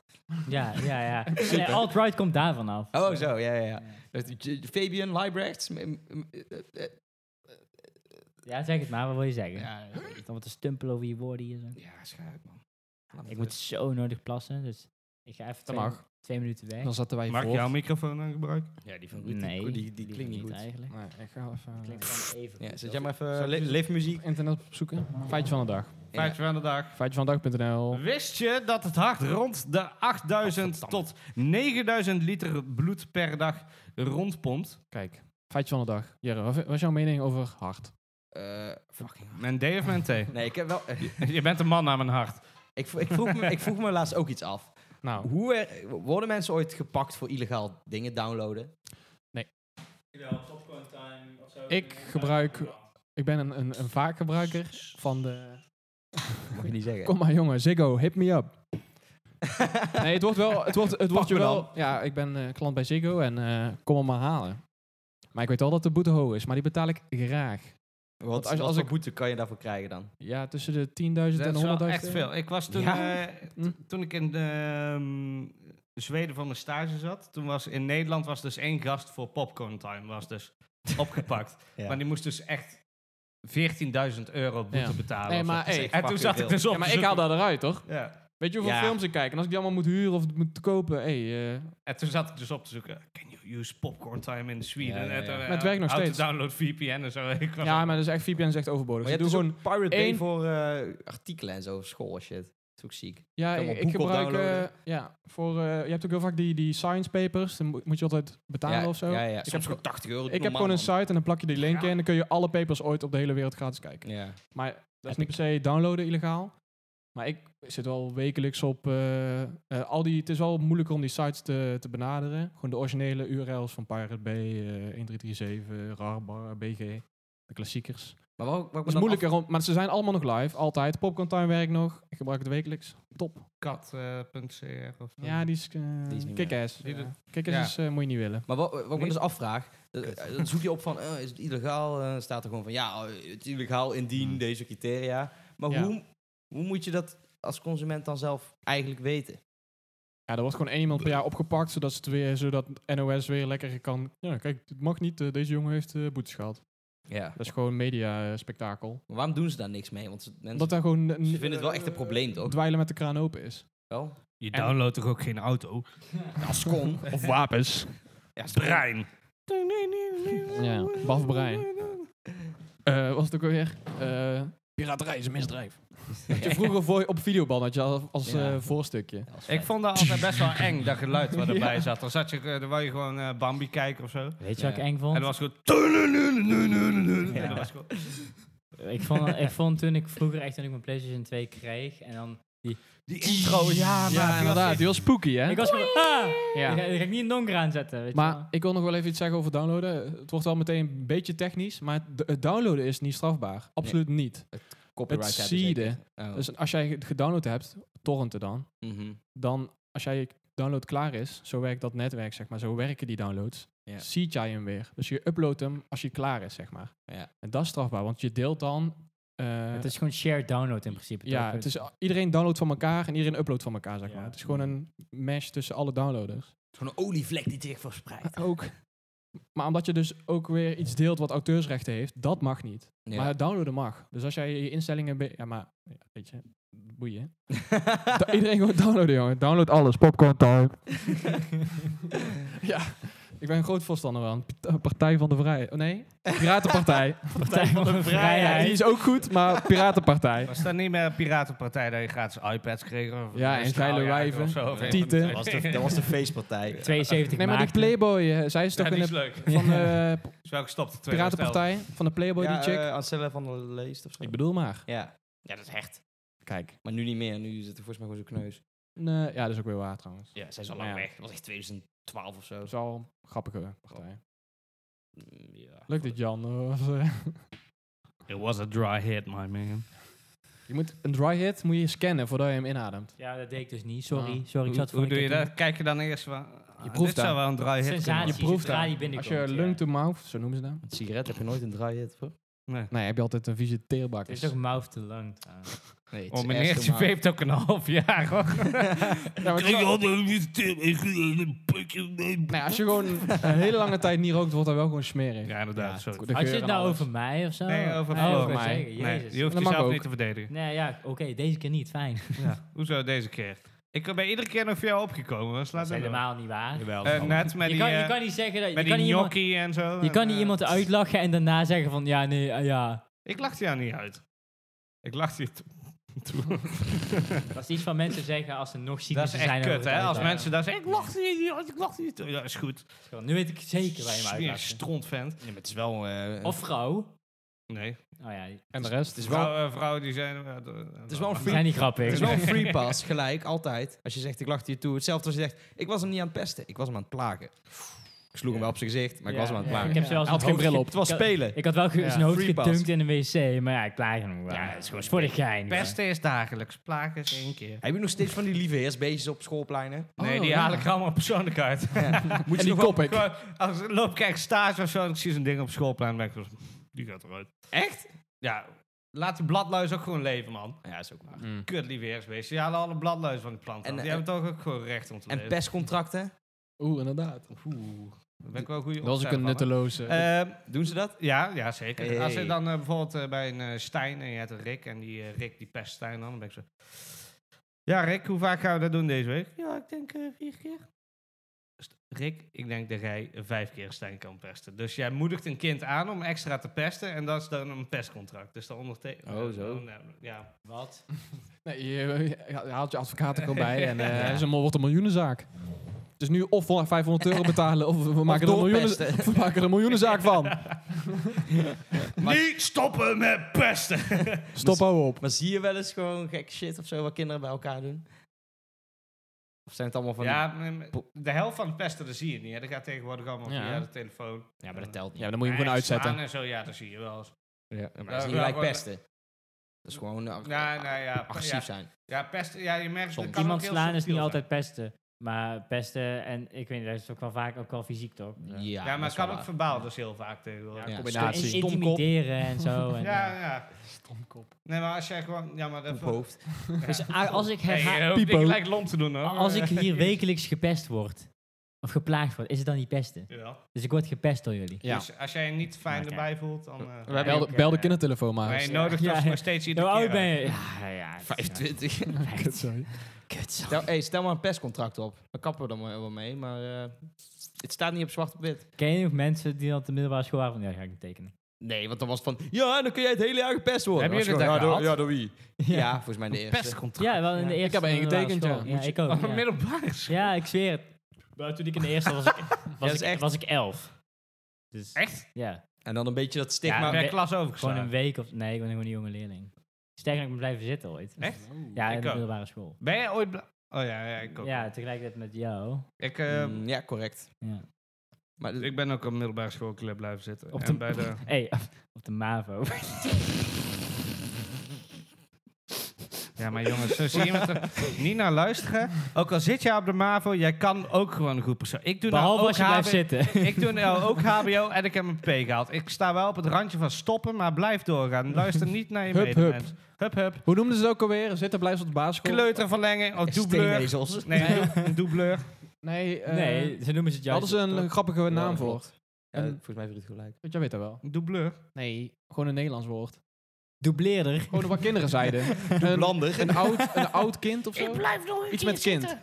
Ja, ja, ja. Nee, alt-right komt daarvan af. Oh, zo, ja, ja, ja. Dat- J- Fabian Liebrechts. m- m- eh, eh, Ja, zeg het maar, wat wil je zeggen? Ja, ja. Dan wat te stumpelen over je woorden hier. Zo. Ja, schuik, man. Ik moet zo nodig plassen, dus ik ga even Dat twee, mag. twee minuten weg. Dan zaten wij Mag ik voor. jouw microfoon dan gebruiken? Ja, die van Ruud, die- Nee, die, die, klinkt niet goed. eigenlijk. Nee, ik ga even Klinkt gewoon even Ja, goed. zet jij maar Zal even ik- li- liftmuziek. eh, internet opzoeken. Feitje van de dag. Feitje van de dag. Feitje van de dag.nl. Wist je dat het hart rond de 8000 tot 9000 liter bloed per dag rondpompt? Kijk, feitje van de dag. Jerry, wat, wat is jouw mening over hart? Eh, fucking. Mijn D of mijn T? Nee, ik heb wel. Je bent een man naar mijn hart. ik, vo- ik, vroeg me, ik vroeg me laatst ook iets af. Nou, Hoe er- worden mensen ooit gepakt voor illegaal dingen downloaden? ik gebruik... Ik ben een, een, een vaak gebruiker van de... Mag je niet zeggen. Kom maar jongen, Ziggo, hit me up. Nee, het wordt wel, het wordt, het wordt je me wel. Ja, ik ben eh, klant bij Ziggo en eh, kom hem maar halen. Maar ik weet wel dat de boete hoog is, maar die betaal ik graag. Wat, als- als, als als een ik- boete kan je daarvoor krijgen dan? Ja, tussen de 10.000 Dat en 100.000. is wel echt veel. Ik was toen, eh? Ja. eh, t- Hm. toen ik in ehm, Zweden van mijn stage zat, toen was in Nederland was dus één gast voor popcorn time was dus opgepakt. Ja. Maar die moest dus echt 14.000 euro boete Ja. betalen. Hey, of zo. maar, Dat is hey, echt en En toen fucking zat ik veel. dus op. Ja, maar ik haal dat eruit, toch? Ja. Weet je hoeveel Ja. films ik kijk? En als ik die allemaal moet huren of moet kopen, hey, eh, En toen zat ik dus op te zoeken. Can you use popcorn time in Sweden? Ja, ja, ja. En toen, Maar het eh, werkt nog how to steeds. download VPN en zo. Ik was ja, maar dat is echt VPN is echt overbodig. Maar Dus je doe hebt dus gewoon, ook Pirate Bay één- voor eh, artikelen en zo, voor school en shit. Dat is ook ziek. ja, kan wel ik, ik boeken op gebruik, downloaden. eh, ja, voor, eh, je hebt ook heel vaak die, die science papers, dan mo- moet je altijd betalen ja, of zo. Ja, ja. Ik, Soms heb, voor 80 euro. ik heb normaal, gewoon een man. site en dan plak je die link Ja. in en dan kun je alle papers ooit op de hele wereld gratis kijken. Ja. Maar dat is niet per se downloaden illegaal. Maar ik zit wel wekelijks op eh, eh, al die. Het is wel moeilijker om die sites te, te benaderen. Gewoon de originele URL's van Pirate Bay, eh 1337, Rarbar, BG, de klassiekers. Maar wat, wat ik me Het is dan moeilijker om, maar ze zijn allemaal nog live, altijd. Popcorn Time werkt nog. Ik gebruik het wekelijks. Top. eh, kat.cr of zo. Ja, die is. eh, Die is niet Kick-ass. Die Ja. doet- Kick-ass Ja. is, eh, moet je niet willen. Maar wat, wat ik me Nee. dus afvraag, eh, eh, dan zoek je op van, eh, is het illegaal? Eh, Dan staat er gewoon van, ja, eh, het is illegaal indien deze criteria. Maar Hmm. Ja. hoe, hoe moet je dat als consument dan zelf eigenlijk weten? Ja, er wordt gewoon één iemand per jaar opgepakt, zodat, ze het weer, zodat NOS weer lekker kan. Ja, kijk, het mag niet. eh, deze jongen heeft eh, boetes gehad. Ja. Dat is gewoon media-spektakel. Maar waarom doen ze daar niks mee? Want ze- mensen Omdat daar gewoon... Ze vinden het wel echt een probleem, toch? Dweilen met de kraan open is. wel. Je En- downloadt toch ook geen auto? Als kon. Of wapens. Ja, is Brein. ja, baf brein. Eh, was het ook alweer? Eh piraterij is een misdrijf. Dat je vroeger voor, op videobal had je als, als Ja. eh, voorstukje. Ja, is Ik fijn. vond dat altijd best wel eng, dat geluid wat erbij Ja. zat. Dan, zat je, eh, dan wou je gewoon eh, Bambi kijken of zo. En Weet je wat ik Ja. eng vond? dat was gewoon... En dat was gewoon Ik vond, ik vond toen ik vroeger echt toen ik mijn PlayStation 2 kreeg en dan die, die intro, ja, maar... Ja, inderdaad. Die was spooky, hè? ik was gewoon ah, die, ga, ja. die ga ik niet in het donker aanzetten, weet je Maar wel. ik wil nog wel even iets zeggen over downloaden. Het wordt wel meteen een beetje technisch, maar het- het downloaden is niet strafbaar. Absoluut niet. Copyright het hebben seeden. zeker. Oh. Dus als jij het gedownload hebt, torrenten dan, mhm. dan als jij download klaar is, zo werkt dat netwerk, zeg maar, zo werken die downloads, Ja. ziet jij hem weer. Dus je uploadt hem als je klaar is, zeg maar. Ja. En dat is strafbaar, want je deelt dan... eh, het is gewoon shared download in principe. ja, toch? het is, iedereen downloadt van elkaar en iedereen uploadt van elkaar, zeg Ja. maar. Het is gewoon een mesh tussen alle downloaders. Zo'n olievlek die zich verspreidt. Ook. Maar omdat je dus ook weer iets deelt wat auteursrechten heeft, dat mag niet. Ja. Maar het downloaden mag. Dus als jij je instellingen... be- Ja, maar... ja, weet je, boeien. Da- iedereen gewoon downloaden, jongen. Download alles. Popcorn time. ja, ik ben een groot voorstander van. P- Partij van de Vrijheid. Oh, nee, Piratenpartij. Partij van de Ja, die Vrijheid. is ook goed, maar Piratenpartij. Was dat niet meer een piratenpartij dat je gratis iPads kreeg? Of Ja, en straaljager geile wijven, of zo, of een tieten. van dat, de- was de, dat was de feestpartij. 72 Nee, maar die maakte. Playboy, eh, zij is toch Ja, in die is de leuk. van de Is wel gestopt in 2011. Piratenpartij, van de Playboy, die chick. eh, Ancella van der Leest of zo. ik bedoel maar. Ja. Ja, dat is hecht. Kijk. Maar nu niet meer. Nu zit er volgens mij gewoon zo'n kneus. Nee, ja, dat is ook weer waar trouwens. Ja, zij is al lang weg. Dat was echt 2012 of zo. Dat is wel een grappige partij. Mm, Ja. Leuk dat Jan eh, was... eh, It was a dry hit, my man. je moet een dry hit moet je scannen voordat je hem inademt. Ja, dat deed ik dus niet. Sorry, Ah. sorry. Ik zat voor Hoe, hoe een doe je keer dat? Kijk je dan eerst van... Je ah, proeft dit zou dat. wel een dry hit kunnen Sensatie, Je proeft zodra dat. die binnenkomt. Als je ja. lung to mouth, zo noemen ze dat. Met sigaret heb je nooit een dry hit, hoor. worden. Nee, heb je altijd een vieze teerbak. Het is toch mouth to lung trouwens. Nee, Oh, meneer, je veept ook een half jaar, hoor. Ja, maar het is Ik wel- had een niet tip. Ik een pakje mee. Nee, als je gewoon een hele lange tijd niet rookt, wordt dat wel gewoon smerig. Ja, inderdaad, sorry. de Had je geur het en nou alles. over mij of zo? Nee, over Ah, Floor. ik wou Mij. zeggen, Nee, Jezus. je hoeft Dat mag jezelf ook. niet te verdedigen. Nee, ja, oké, deze keer niet. Fijn. Hoezo deze keer? Ik ben iedere keer nog voor jou opgekomen. Dus Dat is laat het maar. helemaal niet waar. Jawel. Eh, net met Je die, kan, eh, je kan niet zeggen dat je met kan die niet iemand, gnocchi en zo. je En, kan niet eh, iemand uitlachen en daarna zeggen van ja, nee, ah, ja. Ik lachte jou niet uit. Ik lachte je toe. Dat is iets van mensen zeggen als ze nog zieker Dat is zijn. echt over het kut, hè? Als uitlachen. mensen dat zeggen, ik lachte je niet uit, ik lachte je niet uit. Ja, is goed. Nu weet ik zeker waar je hem Smerig uitlacht. strontvent. Nee, maar het is wel... eh, Of vrouw. Nee. Oh ja, die En de rest is wel- Vrouwen, vrouwen die zijn... eh, eh, het is wel een free... zijn niet grappig. Het is wel een free pass, gelijk, altijd. Als je zegt, ik lachte je toe. Hetzelfde als je zegt, ik was hem niet aan het pesten. Ik was hem aan het plagen. Ik sloeg hem wel op zijn gezicht, maar ik was hem aan het Ik plagen. heb ze wel eens Hij had een hoofd geen bril op. ge- Het was ik had- spelen. Ik had wel ge- Ja. zijn hoofd Free pass. gedunkt in de wc, maar ja, ik plaag hem wel. Ja, het is gewoon voor de gein. Pesten is dagelijks, plagen is één keer. Heb je nog steeds van die lieve heersbeestjes op schoolpleinen? Nee, Oh, die ja. haal ik er allemaal persoonlijk uit. Moet je die kop ik. Gewoon, als ik loop, kijk, stage of zo, en ik zie zo'n ding op schoolplein, dan denk ik, die gaat eruit. Echt? Ja, laat die bladluis ook gewoon leven, man. Ja, is ook maar. Mm. Kut, lieve heersbeest. Die halen alle bladluis van de plant. En, af. die eh, hebben toch ook gewoon recht om te En leven. pestcontracten? Oeh, inderdaad. Oeh. ben ik wel een goede Dat was ook een opsteller van, nutteloze. hè? Ehm, doen ze dat? Ja, ja zeker. Hey. Als je dan eh, bijvoorbeeld eh, bij een eh, Stijn en je hebt een Rick en die eh, Rick die pest Stijn dan, dan ben ik zo... Ja, Rick, hoe vaak gaan we dat doen deze week? Ja, ik denk eh, vier keer. St- Rick, ik denk dat jij eh, vijf keer Stijn kan pesten. Dus jij moedigt een kind aan om extra te pesten en dat is dan een pestcontract. Dus dan ondertekent... Oh, zo. eh, Ja, Wat? nee, je, je haalt je advocaat er gewoon bij en Ja. eh het is een- wordt een miljoenenzaak. Dus nu of we 500 euro betalen of we maken, er een, miljoenen, doorpesten. we maken er een miljoenenzaak van. Niet stoppen met pesten. Stop hou op. Maar zie je wel eens gewoon gek shit of zo wat kinderen bij elkaar doen? Of zijn het allemaal van... ja, maar- maar de helft van de pesten, dat zie je niet. Hè. Dat gaat tegenwoordig allemaal Ja. via de telefoon. die- ja maar dat telt niet. Ja, dan moet je hem Ja, gewoon slaan uitzetten. En zo, ja, dat zie je wel eens. Ja, maar dat Ja, is niet ja, gelijk gewoon- pesten. Dat is gewoon eh, ag- Nee, nee, ja. agressief ja, zijn. Ja, pesten, ja, je merkt... Soms. dat kan ook Iemand heel slaan is subtiel niet zijn. altijd pesten. Maar pesten en ik weet niet, dat is ook wel vaak ook wel fysiek toch? Ja, Ja, dat maar is het kan wel ook waar. verbaal dus heel vaak tegenwoordig. Ja, Ja, combinatie. Sto- in- Stomkop. Intimideren en zo. En, ja. eh, Stomkop. Nee, maar als jij gewoon... Ja, maar dat... Poephoofd. Dus a- als ik, Hey, herha- je hoeft niet Piepo. gelijk lomp te doen, hoor. als ik hier wekelijks gepest word, of geplaagd word, is het dan niet pesten? Jawel. Dus ik word gepest door jullie. Ja. Dus als jij je niet fijn Oké. erbij voelt, dan... eh, Bel, bel de- bel de kindertelefoon maar. Nee, eens. nodig Ja, dat ja. nog steeds iedere Hoe keer oud ben uit. je? Ja, ja, het is- 25. Kut, sorry. Kut. Stel, hey, stel maar een perscontract op. Dan kappen we er maar wel mee, maar eh, het staat niet op zwart op wit. Ken je nog mensen die dan op de middelbare school waren van, ja, dat ga ik niet tekenen. Nee, want dan was het van, ja, dan kun jij het hele jaar gepest worden. Hebben Was jullie gewoon, dat ja, gehad? door- Ja, door wie? Ja, Ja, volgens mij de eerste. Pestcontract. ja wel in de Ja. eerste. Ik heb er één middelbare getekend, school. ja. Ja, Moet je- ik ook. Oh, ja. middelbare school. Ja, ik zweer het. Maar toen ik in de eerste was, was ik, was dat is ik, echt. was ik elf. Dus, Echt? Ja, En dan een beetje dat Ja, stigma. maar we- ben klas gewoon een overgeslagen. week of... Nee, ik ben gewoon een jonge leerling. Sterker, ik ben blijven zitten ooit. Echt? Ja, Ik in de ook. middelbare school. Ben jij ooit... bla- Oh ja, ja, ik ook. Ja, tegelijkertijd met jou. Ik, eh, Mm, ja, correct. Ja. Maar Ik ben ook op middelbare schoolclub blijven zitten. Op en de- bij de... hey, op de MAVO. Ja, maar jongens, zo zie je iemand niet naar luisteren. Ook al zit jij op de MAVO, jij kan ook gewoon een goed persoon. Ik doe nou Behalve ook als je blijft HBO zitten. Ik doe nou ook HBO en ik heb een P gehaald. Ik sta wel op het randje van stoppen, maar blijf doorgaan. Luister niet naar je Hup, medemens. Hup, hup. Hoe noemden ze het ook alweer? Zitten blijven op de basisschool? Kleuterverlenging of doubleur. Steenezels. Nee, een dou- doubleur. Nee, eh, nee, ze noemen ze het juist. hadden ze een grappige naam voor. Ja, En- volgens mij heeft het gelijk. Want jij weet dat wel. Een doubleur. Nee, gewoon een Nederlands woord. Dubleerder. Gewoon wat kinderen zeiden. een, Landig. een, oud, een oud kind of zo? Ik blijf nog Iets met kind.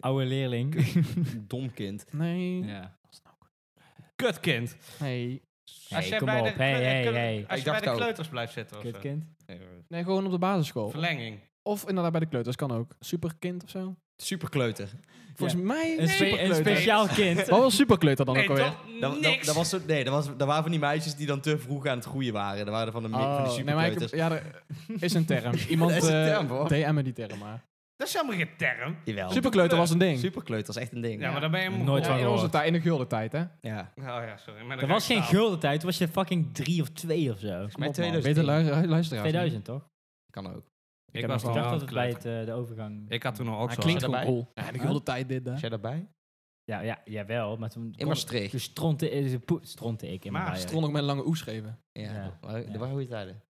Oude leerling. Dom kind. Nee. ja. Kutkind. nee. Hey, jij kom bij de op. Hey, kleu- hey, kleu- hey. Als Ik je bij dacht de ook. kleuters blijft zitten of zo. Kutkind. Eh, Nee, gewoon op de basisschool. Verlenging. Of inderdaad bij de kleuters, kan ook. Superkind of zo. Superkleuter. Volgens mij Een, spe- een superkleuter. speciaal kind. Wat was superkleuter dan Nee, ook alweer? toch Dat, dat- niks. dat was zo, nee, dat, was, dat waren van die meisjes die dan te vroeg aan het groeien waren. Dat waren van de, mi- van die Oh, nee, maar ik- superkleuters. ja, er is een term. Iemand Dat is een eh, term, hoor. DM me die term maar. Dat is helemaal geen term. Jawel. Superkleuter was een ding. Superkleuter is echt een ding. Ja, maar dan ben je... Nooit mooi. van Ja, in onze gehoord. tijd, in de gulden tijd, hè? Ja. Oh ja, sorry. maar dan Er ga was ik geen slapen. gulden tijd. Toen was je fucking drie of twee of zo. mij Kom op, man. 2000. Beter luister, luisteraars. 2000 toch? Kan ook. Ik heb was nog Ik wel dacht dat een het bij kleuter. het, eh, de overgang... Oh, Ik had toen nog ook Hij zo. klinkt Was gewoon hij cool. Ja, in de gulden tijd dit, hè? Is jij daarbij? Ja, ja, jawel, maar toen... In Maastricht. Toen stronte, eh, poe- stronte ik in mijn Maar luier. Stron ook met een lange oes schreven. Ja. Ja. Waar, Ja. waar hoor je tijden?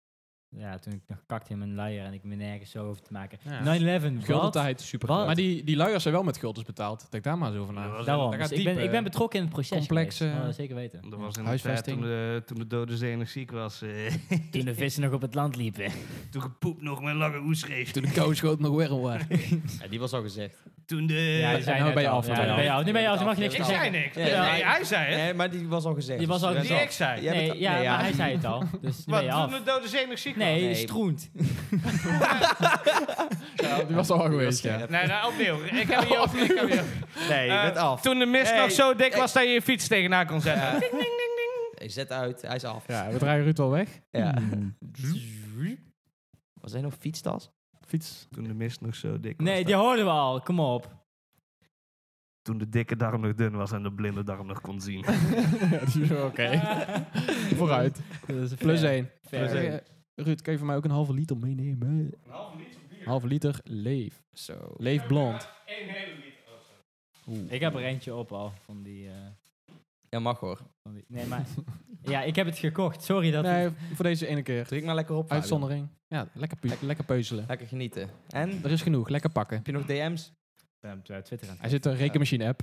Ja, toen ik nog kakte in mijn luier en ik me nergens zo over te maken. Ja. 9-11, Gulden wat? tijd, super. Wat? Maar die, die luiers zijn wel met guldens betaald. Denk daar maar eens over na. Dat was Daarom. Dat gaat Dus ik, ben, diep, ik ben eh, betrokken in het proces complex, geweest. eh, Oh, dat zeker weten. Dat was in de tijd Huisvesting. toen de, toen de dode zee nog ziek was. eh, Toen de vissen nog op het land liepen. Toen gepoep nog met lange oesgeef. Toen de kou schoot nog weer was. Ja, die was al gezegd. Toen de... Ja, zei nou net ben je al. af, Ja, nou ben nu ben je je af. af. Nu ben je af, dan mag je niks Ik meer ik zei zei zeggen. niks. Ja, nee, ja. hij zei het. Nee, maar die was al gezegd. Die was al Dus Die gezegd. ik zei. Jij bent- Nee, ja, nee, ja. maar hij zei het al. Dus nu ben Wat, je toen de af. dode zee nog ziek was? Nee, Nee. stroent. Ja, die was al geweest, ja. Nee, nou, opnieuw. Ik heb je ook. Ik heb je Nee, je Eh, bent af. Toen de mist Hey, nog zo dik hey. was dat je je fiets tegenaan kon zetten. Ja. Hey, Zet uit, hij is af. Ja, Mm. we draaien Ruud al weg. Ja. Was hij nog fietstas? Fiets. Toen de mist nog zo dik Nee, die hoorden we al. Kom op. Toen de dikke darm nog dun was en de blinde darm nog kon zien. Ja, die is wel oké. Vooruit. Plus één. Fair. Plus één. Ruud, kan je voor mij ook een halve liter meenemen? Een halve liter? Halve liter leef. Zo. Leef blond. Ik heb er eentje op al. Van die, eh, Ja, mag hoor. van die- Nee, maar... Ja, ik heb het gekocht. Sorry dat... Nee, voor deze ene keer. Drink maar lekker op. Fabian. Uitzondering. Ja, lekker, pu- lekker peuzelen. Lekker genieten. En? Er is genoeg. Lekker pakken. Heb je nog DM's? ben op Twitter aan Hij zit een rekenmachine app.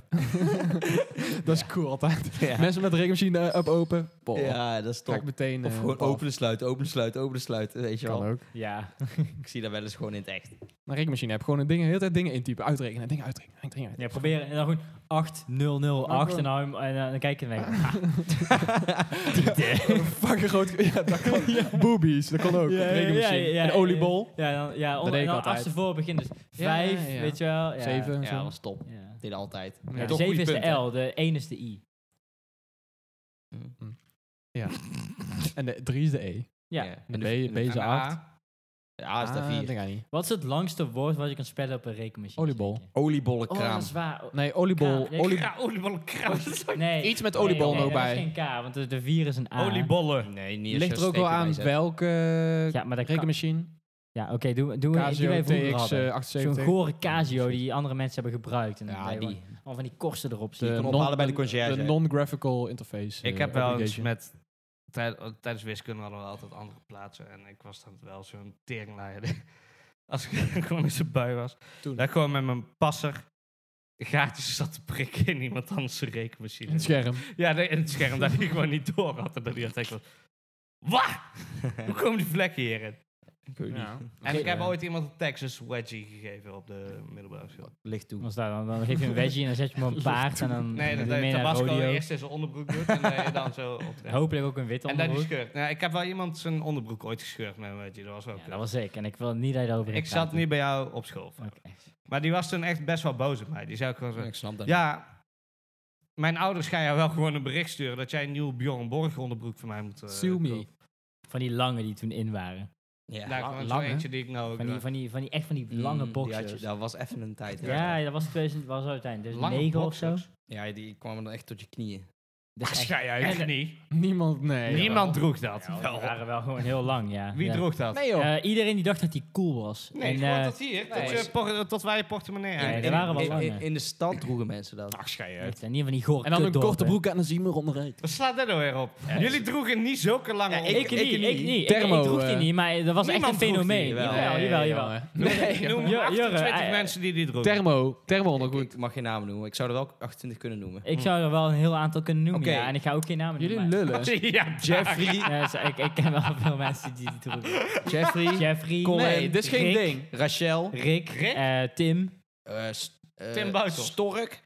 dat is cool altijd. Ja. Mensen met een rekenmachine app open. Boah, ja, dat is ga top. ik meteen. Of eh, gewoon op af. openen, sluiten, openen, sluiten, openen, sluiten. Weet je Kan wel. ook. Ja. Ik zie dat wel eens gewoon in het echt. Een rekenmachine app. Gewoon een ding, de hele tijd dingen intypen, uitrekenen, dingen uitrekenen. uitrekenen. ja, nou proberen. En dan gewoon 8008 en dan, en, eh, dan kijk je en denk ik, Oh, Fucking groot. Ja, dat kan. Boobies, dat kan ook. Ja, ja, rekenmachine. ja, ja, een ja. oliebol. ja, dan, ja, onder, deed en ik dan altijd. achtste voor begin dus Ja, 5, ja, ja. weet je wel. Ja. Zeven. en Ja, zo. dat was top. Ja. Dit altijd. Ja. Ja, Toch zeven goede is de punten. L, de 1 is de I. En de 3 is de E. Ja. En de B, B is de 8. De A is de Ah, 4. dat gaat niet. Wat is het langste woord wat je kan spellen op een rekenmachine? Oliebol. denk je? Oh, Oliebollenkraam. dat is waar. Oh, Nee, oliebol. Kraam. Nee, olie- Ja, oliebollenkraam. Nee. Iets met oliebol nee, nog nee, bij. Dat is geen K, want de, de 4 is een A. Oliebollen. nee, niet als je Ligt er ook wel steek erbij aan zet. welke Ja, maar dat kan- rekenmachine. Ja, oké, doe, doe een die Casio eh, wij vroeger hadden. eh, Zo'n TX78. gore Casio die andere mensen hebben gebruikt. En dan Ja, kan je die. gewoon Al van die korsten erop De zien. kon non- ophalen bij de conciërge. De non-graphical interface. Ik eh, heb wel eens application. met... tijd- oh, Tijdens wiskunde hadden we altijd andere plaatsen. En ik was dan wel zo'n teringleider. Als ik gewoon in zijn bui was. Toen. Dat ik gewoon met mijn passer gaatjes zat te prikken in iemand anders zijn rekenmachine. het scherm. Ja, nee, in het scherm dat hij gewoon niet door had. En dat hij altijd was... Wat? Hoe komen die vlekken hierin? Ik weet Ja. niet. En ik heb Ja. ooit iemand een Texas wedgie gegeven op de middelbare school. Licht toe. Als daar dan, dan geef je een wedgie en dan zet je hem op een paard en Mm, dan Nee, dat doe je hij mee naar de Tabasco rodeo. eerst in zijn onderbroek doet en dat je dan zo optrekt. Hopelijk ook een witte En dat die onderbroek. scheurt. Nou, ik heb wel iemand zijn onderbroek ooit gescheurd met een wedgie. Dat was wel Ja, kut. dat was ik. En ik wil niet dat je daarover Ik zat niet bij jou op school. Frank. Maar die was toen echt best wel boos op mij. Die zei ook gewoon zo... Ik snap dat. Ja, mijn ouders gaan jou wel gewoon een bericht sturen dat jij een nieuw Bjorn Borg onderbroek van mij moet eh, Sue me. kopen. Van die lange die toen in waren. Ja. Nou, la- gewoon lang, zo'n hè? eentje die ik nou ook Van die, draag. van die, van die, echt van die lange Mm, die had je- boxers. Dat was even een tijd. Ja, ja, dat was 2000, was uiteindelijk. Dus Lange 9 of zo. boxers. Ja, die kwamen dan echt tot je knieën. Dat is echt- Schei uit, En- niet. Niemand, nee. Niemand droeg dat. Ja, Wel. die waren wel gewoon heel lang, ja. Wie Ja. droeg dat? Nee joh. Eh, iedereen die dacht dat hij cool was. Nee, en, gewoon eh, tot hier. Tot, nee. je por- tot wij je portemonnee Nee, eigenlijk. er waren wel in, in- lange. in de stad droegen mensen dat. Ach, schei het uit. zijn niet van die gore En dan een kutdorpen. korte broek aan de ziemer onderuit. Wat slaat dat nou weer op? Jullie drogen niet zulke lange Ja, ja, Ik, ik, niet, ik, niet. Ik- Thermo, ik droeg die eh, niet, maar dat was echt niemand een droeg die, fenomeen. jawel. Jawel, jawel, jawel. Nee, noem Jurre, 28 eh, mensen die die droegen. Thermo. Thermo Ik, ondergoed. ik mag geen namen noemen. Ik zou er wel 28 kunnen noemen. Ik zou er wel een heel aantal kunnen noemen, Oké. ja. En ik ga ook geen namen Jullie noemen. lullen. ja, Jeffrey, Ja, dus ik, ik ken wel veel mensen die die droegen. Jeffrey, Jeffrey, Colin, Colin, Nee, dit is geen Rick, ding. Rachel, Rick, Rick? eh, Tim. eh, S- eh, Tim Buitel. Stork.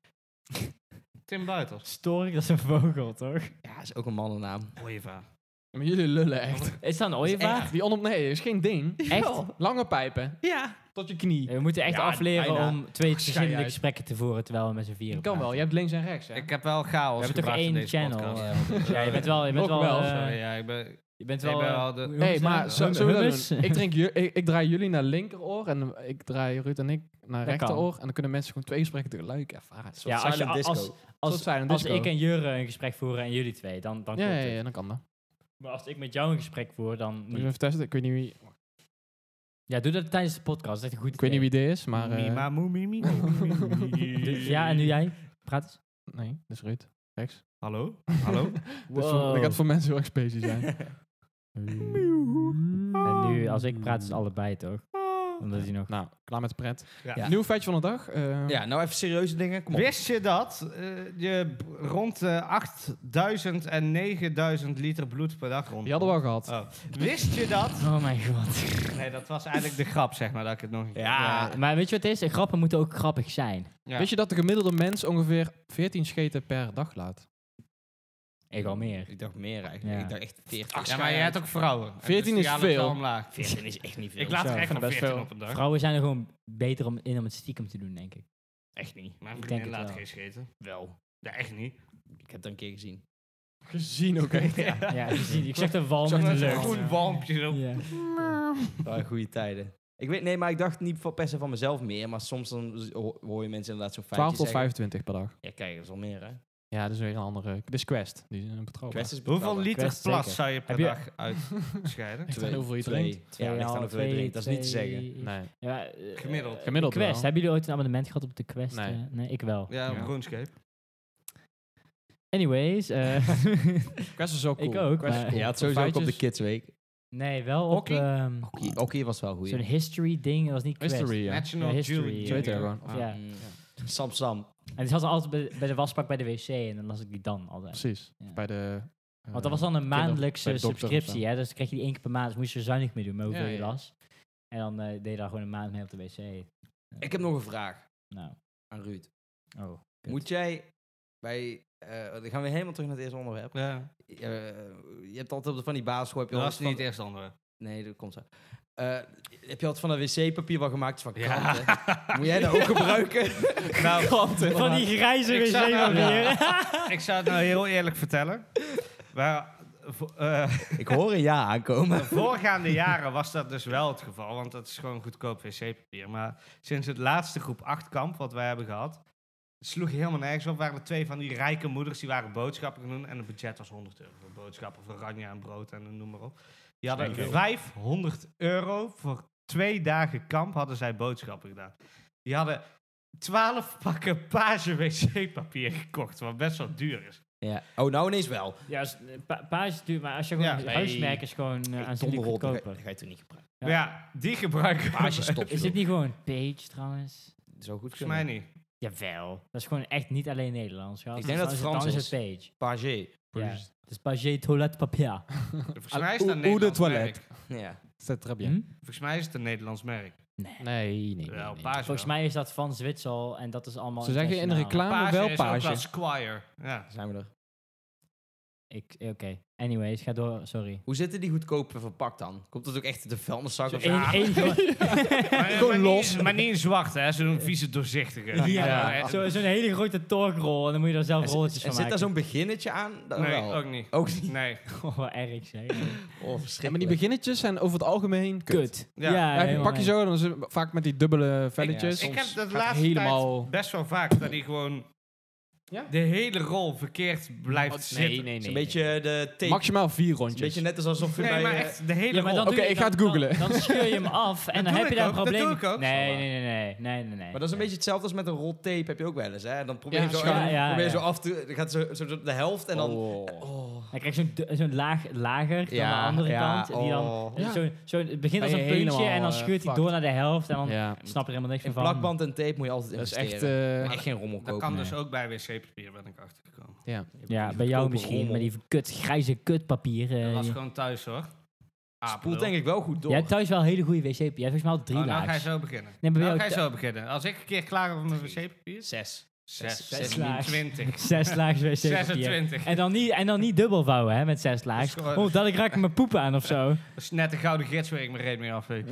Tim Buitels. Stork, dat is een vogel, toch? Ja, is ook een mannennaam. Mooie vraag. Maar jullie lullen echt. Is dat een Echt, ooievaar? Die onder... Nee, is geen ding. Echt? Lange pijpen. Ja. Tot je knie. We moeten echt Ja, afleren bijna. om twee verschillende uit. gesprekken te voeren terwijl we met z'n vieren Je kan wel. Je praten. hebt links en rechts. Hè? Ik heb wel chaos We hebben toch gebracht in één deze channel. podcast. eh, ja, je bent wel... Je bent Nog wel, wel, eh, Sorry, ja, ik ben... je bent Ik wel... ben eh, wel de- hoe noem je Nee, ze maar nou? zo, Hum- zo willen we hummus? doen. ik, drink ju- ik, ik draai jullie naar linkeroor en ik draai Ruud en ik naar Dat rechteroor. En dan kunnen mensen gewoon twee gesprekken tegelijk ervaren. Een soort Ja, als, je, Silent als, als, disco. soort als, silent disco. ik en Jurre een gesprek voeren en jullie twee, dan, dan ja, klopt ja, het. ja, dan kan dat. Maar als ik met jou een gesprek voer, dan Moet je niet. even testen. Ik weet niet wie, Ja, doe dat tijdens de podcast. Dat is echt een goed ik weet niet wie dit is, maar... eh, Mima, moe, mi, mi, Dus- Ja, en nu jij? Praat eens. nee, dat is Ruud. Rechts. Hallo? Hallo? Dus voor- dat gaat voor mensen heel erg specie zijn. Eh, En nu, als ik praat, is allebei toch? Omdat hij nog... nou, klaar met de pret. Ja. Nieuw feitje van de dag. eh, Ja, nou even serieuze dingen. Kom op. Wist je dat eh, je b- rond de 8000 en 9000 liter bloed per dag rond? Die hadden we al gehad. Oh. Wist je dat? Oh mijn god. Nee, dat was eigenlijk de grap, zeg maar, dat ik het nog een keer- Ja. Ja, maar weet je wat het is? Grappen moeten ook grappig zijn. Ja. Wist je dat de gemiddelde mens ongeveer 14 scheten per dag laat? Ik al meer. Ik dacht meer eigenlijk. Ja. Ik dacht echt 40. Ja, maar je hebt ook vrouwen. En dus 14 die is halen het veel. wel omlaag. 14 is echt niet veel. Ik laat er ik echt vind nog dat 14 veel. op een dag. Vrouwen zijn er gewoon beter om, in om het stiekem te doen, denk ik. Echt niet. Mijn Ik denk vriendin het laat wel. geen scheten. Wel. Ja, echt niet. Ik heb dat een keer gezien. Gezien ook, hè? Ja, je ziet- ik zeg de walm in Zo'n de een lucht. groen walmpje. zo. Ja. Ah, goede tijden. Ik weet, nee, maar ik dacht niet van- per se van mezelf meer, maar soms dan z- ho- hoor je mensen inderdaad zo'n feitje 12 tot zeggen. 25 per dag. Ja, kijk, dat is al meer, hè? Ja, dat is weer een andere. Dit is Quest. Die is een betrouwbaar. Kwesties Hoeveel liter Kwest plas zeker. zou je per Heb je- dag uitscheiden? Ligt aan hoeveel je drinkt. Ja, ligt aan hoeveel je drinkt. Dat is niet te zeggen. Nee. Ja, eh, Gemiddeld. eh, Gemiddeld Quest. wel. Hebben jullie ooit een abonnement gehad op de Quest? Nee. eh? nee ik wel. Ja, Ja. op RuneScape. Anyways. eh, Quest is ook cool. Ik ook, Quest is maar- cool. Ja, het sowieso ook op de Feitjes. Kids Week. nee, wel op Hockey? ehm, Oké, was wel goed. zo'n history ding. Dat was niet Quest. History, ja. National Ja, history, Jewelry ja. Zo heet hij Junior. Ah. gewoon. Of ja. Mm. Sam Sam. En die zat altijd bij, bij de wasbak bij de wc en dan las ik die dan altijd. Precies. Ja. Bij de, eh, Want dat was dan een kinder- bij maandelijkse de dokter of subscriptie, hè? Dus dan kreeg je die één keer per maand, dus moest je er zuinig mee doen, maar hoeveel Ja, je ja. las. En dan eh, deed je daar gewoon een maand mee op de wc. Ik heb nog een vraag Nou, aan Ruud. oh. Kut. Moet jij bij... eh, dan gaan we helemaal terug naar het eerste onderwerp. Ja. Eh, je hebt altijd op de- van die basisschool... Heb je Dat altijd is niet van- het eerste andere. Nee, dat komt zo. Eh, heb je altijd van dat wc-papier wat gemaakt is van Ja. kranten? Moet jij dat ook gebruiken? Nou, Van die grijze Ik zou nou- wc-papier. ik zou het nou heel eerlijk vertellen. eh, Maar, Ik hoor een ja aankomen. De voorgaande jaren was dat dus wel het geval, want dat is gewoon goedkoop wc-papier. Maar sinds het laatste groep 8 kamp wat wij hebben gehad, sloeg helemaal nergens op. Waren er twee van die rijke moeders die waren boodschappen gaan doen en het budget was 100 euro voor boodschappen, voor ranja en brood en noem maar op. Die hadden Zeker. 500 euro voor twee dagen kamp hadden zij boodschappen gedaan. Die hadden 12 pakken page wc-papier gekocht, wat best wel duur is. Ja. Oh, nou ineens wel. Ja, als- eh, pa- pa is duur, maar als je gewoon Ja, nee. huismerk is gewoon eh, aanzienlijk Donderrol, dat ga- goedkoper. dat ga je toen niet gebruiken. Ja. Maar ja, die gebruiken we Paasje stopt. Is dit niet gewoon Page trouwens? Zo goed volgens mij kunnen. niet. Jawel. Dat is gewoon echt niet alleen Nederlands. Ja. Ik denk dat het Dan Frans is het Page. Pagé. Ja. Het is Page toiletpapier. Volgens mij is Oe- oe het een de Nederlands toilet. merk. Ja. C'est très bien. Hm? Volgens mij is het een Nederlands merk. Nee, nee, Wel, nee. paars Volgens wel. mij is dat van Zwitserl en dat is allemaal Ze zeggen in de internationaal. reclame Paarse wel is ook wel paasje. Squire. Ja. Zijn we er. Ik- eh, Oké. Anyways, ga door. Sorry. Hoe zitten die goedkope verpakt dan? Komt dat ook echt uit de vuilniszak? Zo of- één- één gro- Maar, Gewoon maar los. Niet, maar niet in zwart, hè. Zo'n vieze doorzichtige. Ja, hè. zo- zo'n hele grote torkrol en dan moet je er zelf En zit- rolletjes en van zit daar maken. zo'n beginnetje aan? Dan Nee, wel. ook niet. Ook niet. Nee. Oh, wat erg zeg. Oh, Ja, maar die verschrikkelijk. beginnetjes zijn over het algemeen kut. Kut. Ja. Ja, helemaal pak je mee. zo, dan is het vaak met die dubbele velletjes. Ik heb dat gaat laatste helemaal... tijd best wel vaak dat hij gewoon Ja? de hele rol verkeerd blijft zitten. Oh, nee, Een beetje de tape. Maximaal vier Een rondjes. beetje net als alsof je Nee, bij... maar eh, echt de hele Ja, maar rol. Oh, dan doe Oké, je- ik dan- ga het googlen. Dan, dan scheur je hem af en Dat dan doe heb je ik daar een ook, dat probleem. doe ik ook, Nee, Sanne. nee, nee, nee, nee, nee, nee. Maar dat is een beetje hetzelfde als met een rol tape, heb je ook wel eens. Hè? En dan probeer je Ja, zo, schuim. Ja, ja, probeer je ja. zo af te... Dan gaat zo, zo- zo de helft en dan... Oh. Dan krijg je zo'n du- zo'n laag lager dan Ja, de andere ja, kant. Die dan, oh. dus Ja. zo'n- zo'n- het begint als Ben een je puntje helemaal, en dan eh, schuurt hij fucked. door naar de helft en dan Ja, snap je er helemaal niks In meer van. plakband en tape moet je altijd dat is investeren. echt... eh, echt geen rommel Dat kopen. kan dus nee. ook bij wc-papier, ben ik achtergekomen. ja. Ja, bij jou goedkope misschien, rommel. met die kut, grijze kutpapier. eh, Dat was die- gewoon thuis, hoor. Spoelt denk ik wel goed door. Jij hebt thuis wel hele goede wc-papier. Jij hebt volgens mij al drie Oh, laag. nou ga je zo beginnen. Nee, maar bij nou jou ga je th- zo beginnen. Als ik een keer klaar ben met mijn wc-papier... Zes. Zes. Zes laag. 20. Zes laag wc-papier. 26. En dan, niet, en dan niet dubbel vouwen hè, met zes Dat is laag. gewoon- Oh, dat ik raak mijn poep aan of zo. Dat is net een gouden gids waar ik mijn reet mee afweeg.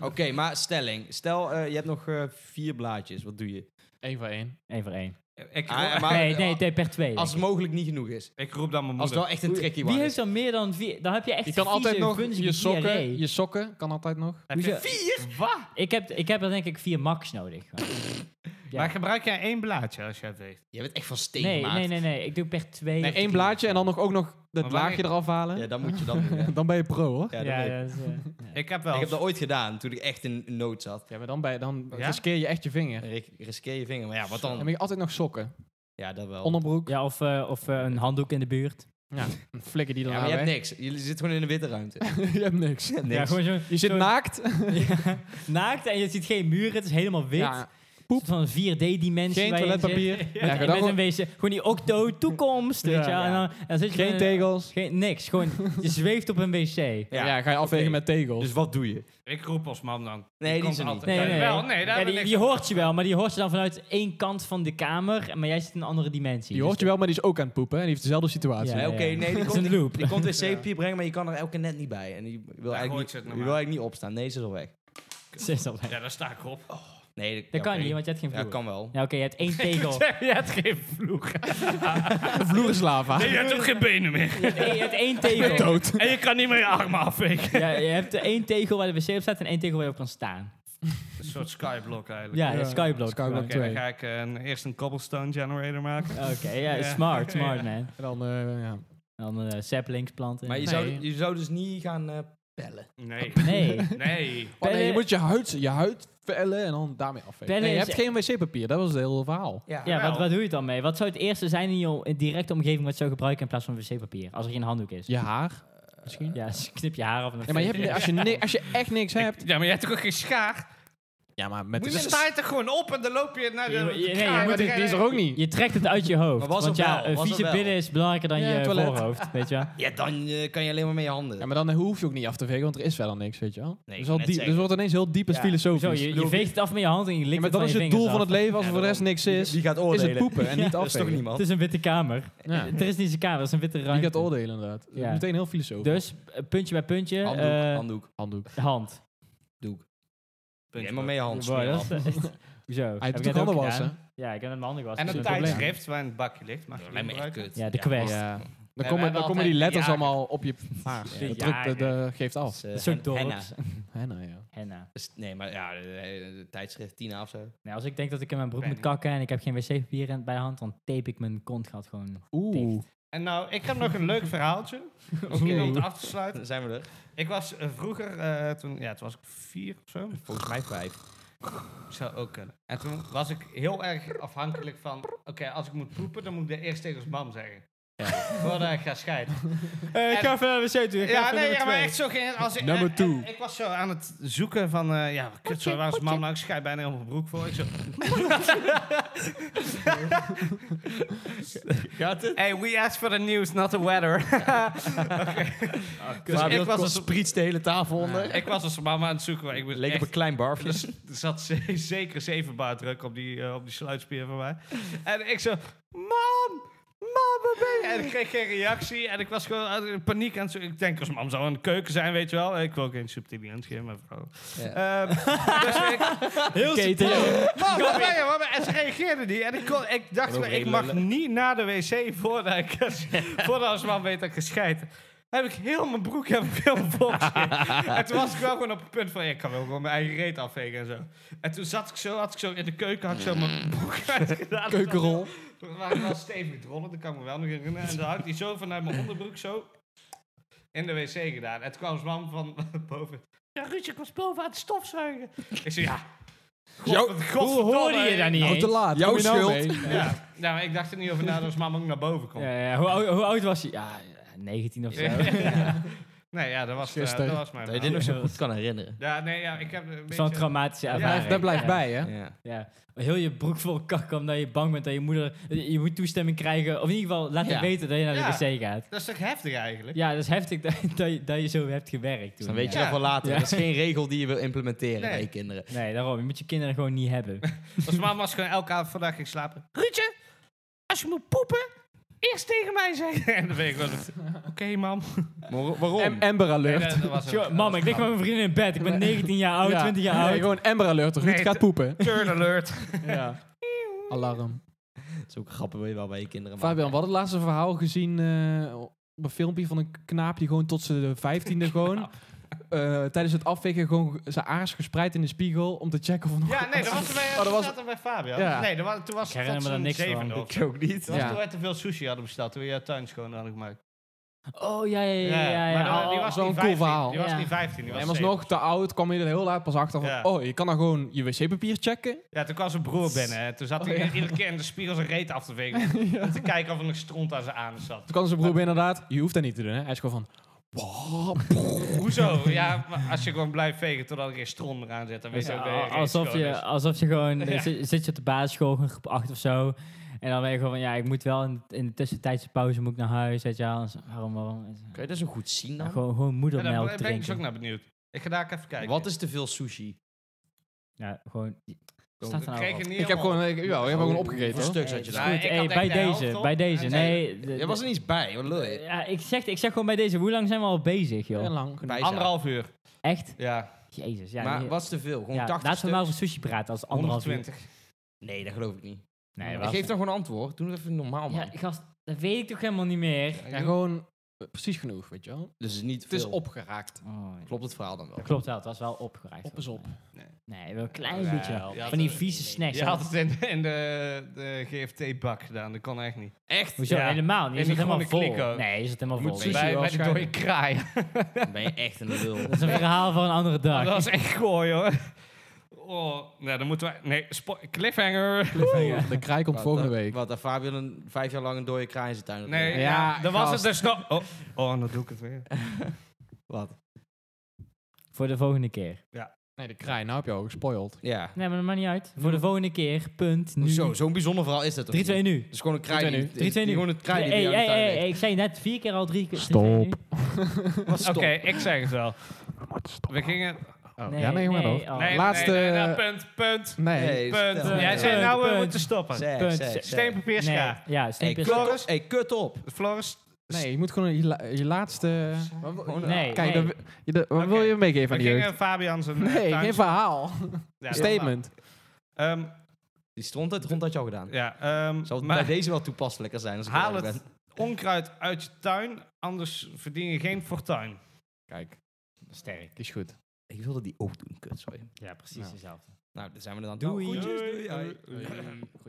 Oké, maar stelling. Stel, eh, je hebt nog eh, vier blaadjes. Wat doe je? Eén voor één. Eén voor één. ik, Ah, roep, maar- nee, nee, nee, per twee. denk Als ik. het mogelijk niet genoeg is. ik roep dan mijn Als het moeder. wel echt een tricky Wie one heeft is. dan meer dan vier? Dan heb je echt Je kan altijd vieze, nog vunzige je sokken, diarree. je sokken kan altijd nog. Heb je Hoezo? vier? Wat? Ik heb, ik heb er denk ik vier max nodig. Ja. Maar gebruik jij één blaadje als jij het weet? Je bent echt van steen Nee, gemaakt. nee, nee, nee. Ik doe per twee. Nee, of één drie. blaadje en dan nog ook nog dat Maar laagje wanneer- eraf halen. Ja, dan moet je dat doen. hè. Dan ben je pro hoor. Ja, Ja, dat weet ik. dat is, eh, Ik heb wel. Ik heb dat ooit gedaan, toen ik echt in in nood zat. Ja, maar dan, bij, dan Ja? riskeer je echt je vinger. En Rik- Riskeer je vinger. Maar ja, wat dan dan? heb je altijd nog sokken. Ja, dat wel. Onderbroek. ja, of, eh, of eh, een handdoek in de buurt. Flikker die Ja, dan maar je hebt weg. niks. Je zit gewoon in een witte ruimte. je hebt niks. Ja, gewoon zo, Je zit zo- naakt. Ja, naakt en je ziet geen muren. Het is helemaal wit. Ja, Poep. Van een 4D-dimensie. geen toiletpapier. Ja, Met, ga en dan met een gewoon- wezen. Gewoon die octo-toekomst. weet je wel. En dan, en dan zit je Geen gewoon- tegels. Geen, niks. Gewoon, je zweeft op een wc. Ja, ga je afwegen oké. met tegels. Dus wat doe je? Ik roep als man dan. Nee, die komt is er niet. altijd. Wel, nee, daar ja, heb ik die, niks die aan. hoort je wel, maar die hoort je dan vanuit één kant van de kamer. Maar jij zit in een andere dimensie. die Dus hoort je wel, maar die is ook aan het poepen. En die heeft dezelfde situatie. Ja, Nee, ja, Oké, ja. nee, die Dat is komt, een loop. die komt wc-papier brengen, maar je kan er elke keer net niet bij. En die wil, gooit eigenlijk ze niet, die het nou wil maar. eigenlijk niet opstaan. Nee, ze is al weg. ze is al weg. Ja, daar sta ik op. Oh. Nee, dat, Dat ja, kan oké. niet, want je hebt geen Ja, vloer. kan wel. Ja, oké, je hebt één tegel. Ah. je hebt geen vloer. De vloer is lava. Nee, je hebt ook geen benen meer. Je hebt één- je hebt één tegel. Dood. En je kan niet meer je armen afvegen. Ja, je hebt één tegel waar de wc op staat en één tegel waar je op kan staan. Een soort skyblock eigenlijk. Ja, skyblock. Skyblock. Oké, dan twee. ga ik eh, een- eerst een cobblestone generator maken. Oké, ja, Ja. smart, smart man. En dan, eh, ja. Dan eh saplings planten. Maar je, Nee. zou, je zou dus niet gaan eh, pellen. Nee. Nee. Nee. Oh, nee, je Pellen- moet je huid, je huid vellen en dan daarmee afvegen. Pellen Nee, je is hebt geen wc-papier. Dat was het hele verhaal. Ja, Wel. wat, wat doe je dan mee? Wat zou het eerste zijn in je directe omgeving wat je zou gebruiken in plaats van wc-papier? Als er geen handdoek is. Je haar, misschien. Ja, dus knip je haar af en dan Ja, maar je hebt, als, je ni- als je echt niks hebt... Ja, maar jij hebt toch ook geen schaar? Ja, maar met Moet de je sta je er gewoon op en dan loop je naar de. Je- je- nee, je Ja, maar moet- die, dan ga die is er ook niet. Je trekt het uit je hoofd. Maar was want er ja, wel, een was er vieze wel. binnen is belangrijker dan Ja, je toilet. voorhoofd, weet je wel. Ja, dan eh, kan je alleen maar met je handen. Ja, maar dan eh, hoef je ook niet af te vegen, want er is wel niks, weet je wel. Nee, dus, ik al wou net diep, dus zeggen. het wordt ineens heel diep en Ja. filosofisch. Zo, je, Ik bedoel, je veegt het af met je hand en je likt ja, maar het dat van is je het vingers doel van af. het leven, als er Ja, voor de rest daarom. niks is. Die gaat Is oordelen. het poepen en niet Dat is toch afvegen. Het niemand? is een witte kamer. Ja. Er is niet eens een kamer, dat is een witte Die ruimte. gaat oordelen inderdaad. Ja. Meteen heel filosofisch. Dus, eh, puntje bij puntje, Handdoek, eh, handdoek, handdoek. hand. doek. Puntje. maar met je hand. Wow, smeer dat is- af. Hoezo? Hij Heb doet ik toch net ook handen wassen? gedaan? Ja, ik heb het mijn handen gewassen. En een dat is geen probleem. tijdschrift waar een bakje ligt. Mag je Lijkt me echt gebruiken. kut. Ja, de kwest. Ja. Dan we komen, hebben dan komen die altijd de letters jager. allemaal op je paard. De Dat drukt- dat, jager. eh, geeft Dat af. is, eh, Een soort hen- dorps. henna. Hè, nou ja. Henna. Dus- Nee, maar ja, de, de- de tijdschrift Tina of zo. Nou, als ik denk dat ik in mijn broek Ben moet kakken en ik heb geen wc-papier in- bij de hand, dan tape ik mijn kontgat gewoon Oeh. dicht. En nou, ik heb nog een leuk verhaaltje. Misschien om het af te sluiten. Dan zijn we er. Ik was eh, vroeger, eh, toen, ja, toen was ik vier of zo. Volgens mij vijf. Zou ook kunnen. En toen was ik heel erg afhankelijk van... Oké, als ik moet poepen, dan moet ik de eerst tegen bam zeggen. Voordat ik ga scheiden. Eh, ik ga even naar de wc toe. Ja, nee, ja, maar echt zo ging het. Als ik, Number en- two. en ik was zo aan het zoeken van... eh, ja, kut, zo, waar is mam nou? Ik scheid bijna helemaal mijn broek voor. Ik zo... Gaat het? Hey, we asked for the news, not the weather. Dus ik ik was was als- sprietst de hele tafel onder. ik was als mama aan het zoeken. maar Ik was Leek op echt- een klein barfje. Dus er zat ze- zeker zeven bar druk op die, eh, op die sluitspier van mij. En ik zo, mam, mam, waar ben je? En ik kreeg geen reactie. En ik was gewoon uit- in paniek aan het zoeken. Ik denk, als mam zou in de keuken zijn, weet je wel. Ik wil geen subtiliantie, maar vrouw. Ehm, dus ik, Heel mam, waar ben je? Waar ben je? En ze reageerde niet. En ik, kon, ik dacht, maar, ik mag niet naar de wc voordat ik, voordat als mam weet dat ik gescheiden. Heb ik heel mijn broek heb ik helemaal vol gescheten. En toen was ik wel gewoon op het punt van, ja, ik kan wel gewoon mijn eigen reet afvegen en zo. En toen zat ik zo, had ik zo in de keuken, had ik zo mijn broek uitgedaan. Keukenrol. We waren wel stevig drollen, dat kan ik me wel nog herinneren. En dan had hij zo vanuit mijn onderbroek zo in de wc gedaan. En toen kwam zijn man van boven. Ja, Ruudje, ik was boven aan het stofzuigen. Ik zei, ja. Jou- God, Hoe hoorde je daar niet Oh, te eens? laat. Jouw Kom je nou schuld. mee? Ja, nou, maar ik dacht er niet over na dat zijn mam ook naar boven kwam. Ja, ja, hoe, oud, hoe oud was hij? Ja, 19 of zo. Nee, ja, dat was, eh, Gisteren. dat was mijn Dat je dit nog zo goed kan herinneren. Ja, nee, ja, ik heb een Zo'n beetje... traumatische Ja, ervaring. Dat blijft Ja. bij, hè? Ja. Ja. Heel je broek vol kak omdat je bang bent dat je moeder... Je moet toestemming krijgen. Of in ieder geval laat je Ja. weten dat je naar de Ja. wc gaat. Dat is toch heftig eigenlijk? Ja, dat is heftig dat, dat, je, dat je zo hebt gewerkt Dus toen. dan weet je Ja. dat wel later. Ja. Dat is geen regel die je wil implementeren Nee. bij je kinderen. Nee, daarom. Je moet je kinderen gewoon niet hebben. Als mama was gewoon elke avond vandaag ging slapen. Ruudje, als je moet poepen, eerst tegen mij zeggen. En dan ben ik gewoon... Oké, mam. Maar waarom? Am- Amber Nee, alert. dat- dat was het. Yo, mam, ik lig met mijn vrienden in bed. Ik ben 19 jaar oud, Ja. 20 jaar Nee, oud. gewoon Amber alert. Ruud Nee, gaat t- poepen. Turn alert. Ja. Alarm. Dat is ook grappen wil je wel bij je kinderen maken. Fabian, we hadden het laatste verhaal gezien eh, op een filmpje van een knaap die gewoon tot zijn vijftiende gewoon... eh, tijdens het afvegen gewoon zijn aars gespreid in de spiegel om te checken of er nog... Ja, nee, dat was er bij, Oh, dat was- dat er bij Fabian. Ja. Nee, dat was, toen was Ik herinner me tot daar zo'n niks van. zevende of zo. Ik ook niet. Toen was Ja. toen we te veel sushi hadden besteld, toen we jouw tuin schoon hadden gemaakt. Oh, ja, ja, ja. ja, Oh, ja, maar ja. die was zo'n niet cool 15, verhaal. Die was Ja. niet 15, die was en was 7. nog te oud, kwam je er heel laat pas achter van... Ja. Oh, je kan dan gewoon je wc-papier checken. Ja, toen kwam zijn broer binnen. hè. Toen zat Oh, hij ja. iedere keer in de spiegel zijn reet af te vegen. Om te kijken of er nog stront aan zijn anus zat. Toen kan zijn broer inderdaad... Je hoeft dat niet te doen, hè. Hij is gewoon van... Hoezo? Ja, maar als je gewoon blijft vegen totdat er geen stront meer aan zit, dan weet je ook dat je reet alsof, schoon je, is. alsof je gewoon... dus- eh, Ja. Zit, zit je op de basisschool, gewoon groep 8 of zo. En dan ben je gewoon van... Ja, ik moet wel in, in de tussentijdse pauze moet ik naar huis, weet je wel. En zo, Waarom, waarom? Kan je dat zo goed zien Ja, dan? gewoon, gewoon Ja, daar moedermelk ben- ben ik dus ook drinken. naar benieuwd. Ik ga daar ook even kijken. Wat is te veel sushi? Ja, gewoon... Ik Staat er nou kreeg wat? het niet Ik heb gewoon, ik, ja, ik heb gewoon opgegeten, Hoeveel hoor. stuks had je Is daar? goed. ik had Hey, denk bij de helft, deze, toch? bij Ja, deze. Nee, de- Jij was er niet bij, wat lul je? ja, ik, zeg, ik zeg gewoon bij deze. Hoe lang zijn we al bezig, En joh? lang. Bij- Anderhalf uur. Echt? Ja, Jezus. Ja, maar nee. wat is te veel? Gewoon Ja, 80 laten we maar stuks? over sushi praten als anderhalf uur. 120. Nee, dat geloof ik niet. Nee, Ik was- Geef dan gewoon een antwoord. Doe het even normaal, man. Ja, gast, dat weet ik toch helemaal niet meer. Ja, gewoon eh, precies genoeg, weet je wel. Dus het is niet Het is veel. opgeraakt. Oh, Klopt het verhaal dan wel? Dat klopt wel, het was wel opgereikt. Op is op. Nee, wel een klein Ja, beetje. ja, van die dat- vieze snacks. Je had het in, in de, de GFT-bak gedaan, dat kon echt niet. Echt? Hoezo? Ja. Helemaal niet. Is het In die helemaal vol? groene kliko. Nee, is het helemaal vol. Moet sushi- Dat bij, bij die dode waarschijnlijk. kraai. Dan ben je echt een lul. is een verhaal voor een andere dag. Dat was echt gooi hoor. Oh, nou dan moeten we... Nee, spo- cliffhanger. De kraai komt Wat, volgende eh, week. Wat, dat Fabian een, vijf jaar lang een dode kraai in zijn tuin had. Nee, Ja, ja, dan was het gast. dus nog... Oh, oh, dan doe ik het weer. Wat? Voor de volgende keer. Nee, de kraai. Nou heb je al gespoild. Ja. Nee, maar dat maakt niet uit. Voor de volgende keer, punt, nu. Zo, zo'n bijzonder verhaal is dat toch 3-2 niet? nu. Het is gewoon een kraai. 3-2 nu. die- die- die- 3-2 nu. Gewoon een kraai die Hey, bij jou hey, in de tuin hey, ligt. hey, ik zei net vier keer al drie keer. 3-2 Stop. Oh, nu. Oké, ik zeg het wel. We gingen... Oh. Ja, nee, maar nee, dan. oh. Nee, Laatste- nee, nee, nee, punt, punt, Nee. Hey, punt. stel. Jij Punt, zei nou, we punt. moeten stoppen. Zeg, punt. zeg, zeg. Steen, papier, Nee, schaar. ja, Hey, steen, kut papier- op. Hey, kut op. Floris, Nee, je moet gewoon je, la- je laatste... Wat wil- Gewoon- Nee, Kijk, nee. dat wi- je- dat- wat Oké. wil je meegeven we aan die jeugd? gingen Fabian zijn... eh, Nee, tuin- geen verhaal. Ja, Statement. Ehm, Die stront uit rond had je al gedaan. ja, ehm, Zal het maar- bij deze wel toepasselijker zijn als ik Haal eerlijk het ben? onkruid uit je tuin, anders verdien je geen fortuin. Kijk, Sterk. die is goed. Ik wilde die ook doen, kut, sorry. Ja, precies Nou. zetzelfde. Nou, dan zijn we er dan. Doei. Nou, groetjes, Doei. doei, hoi. Goed.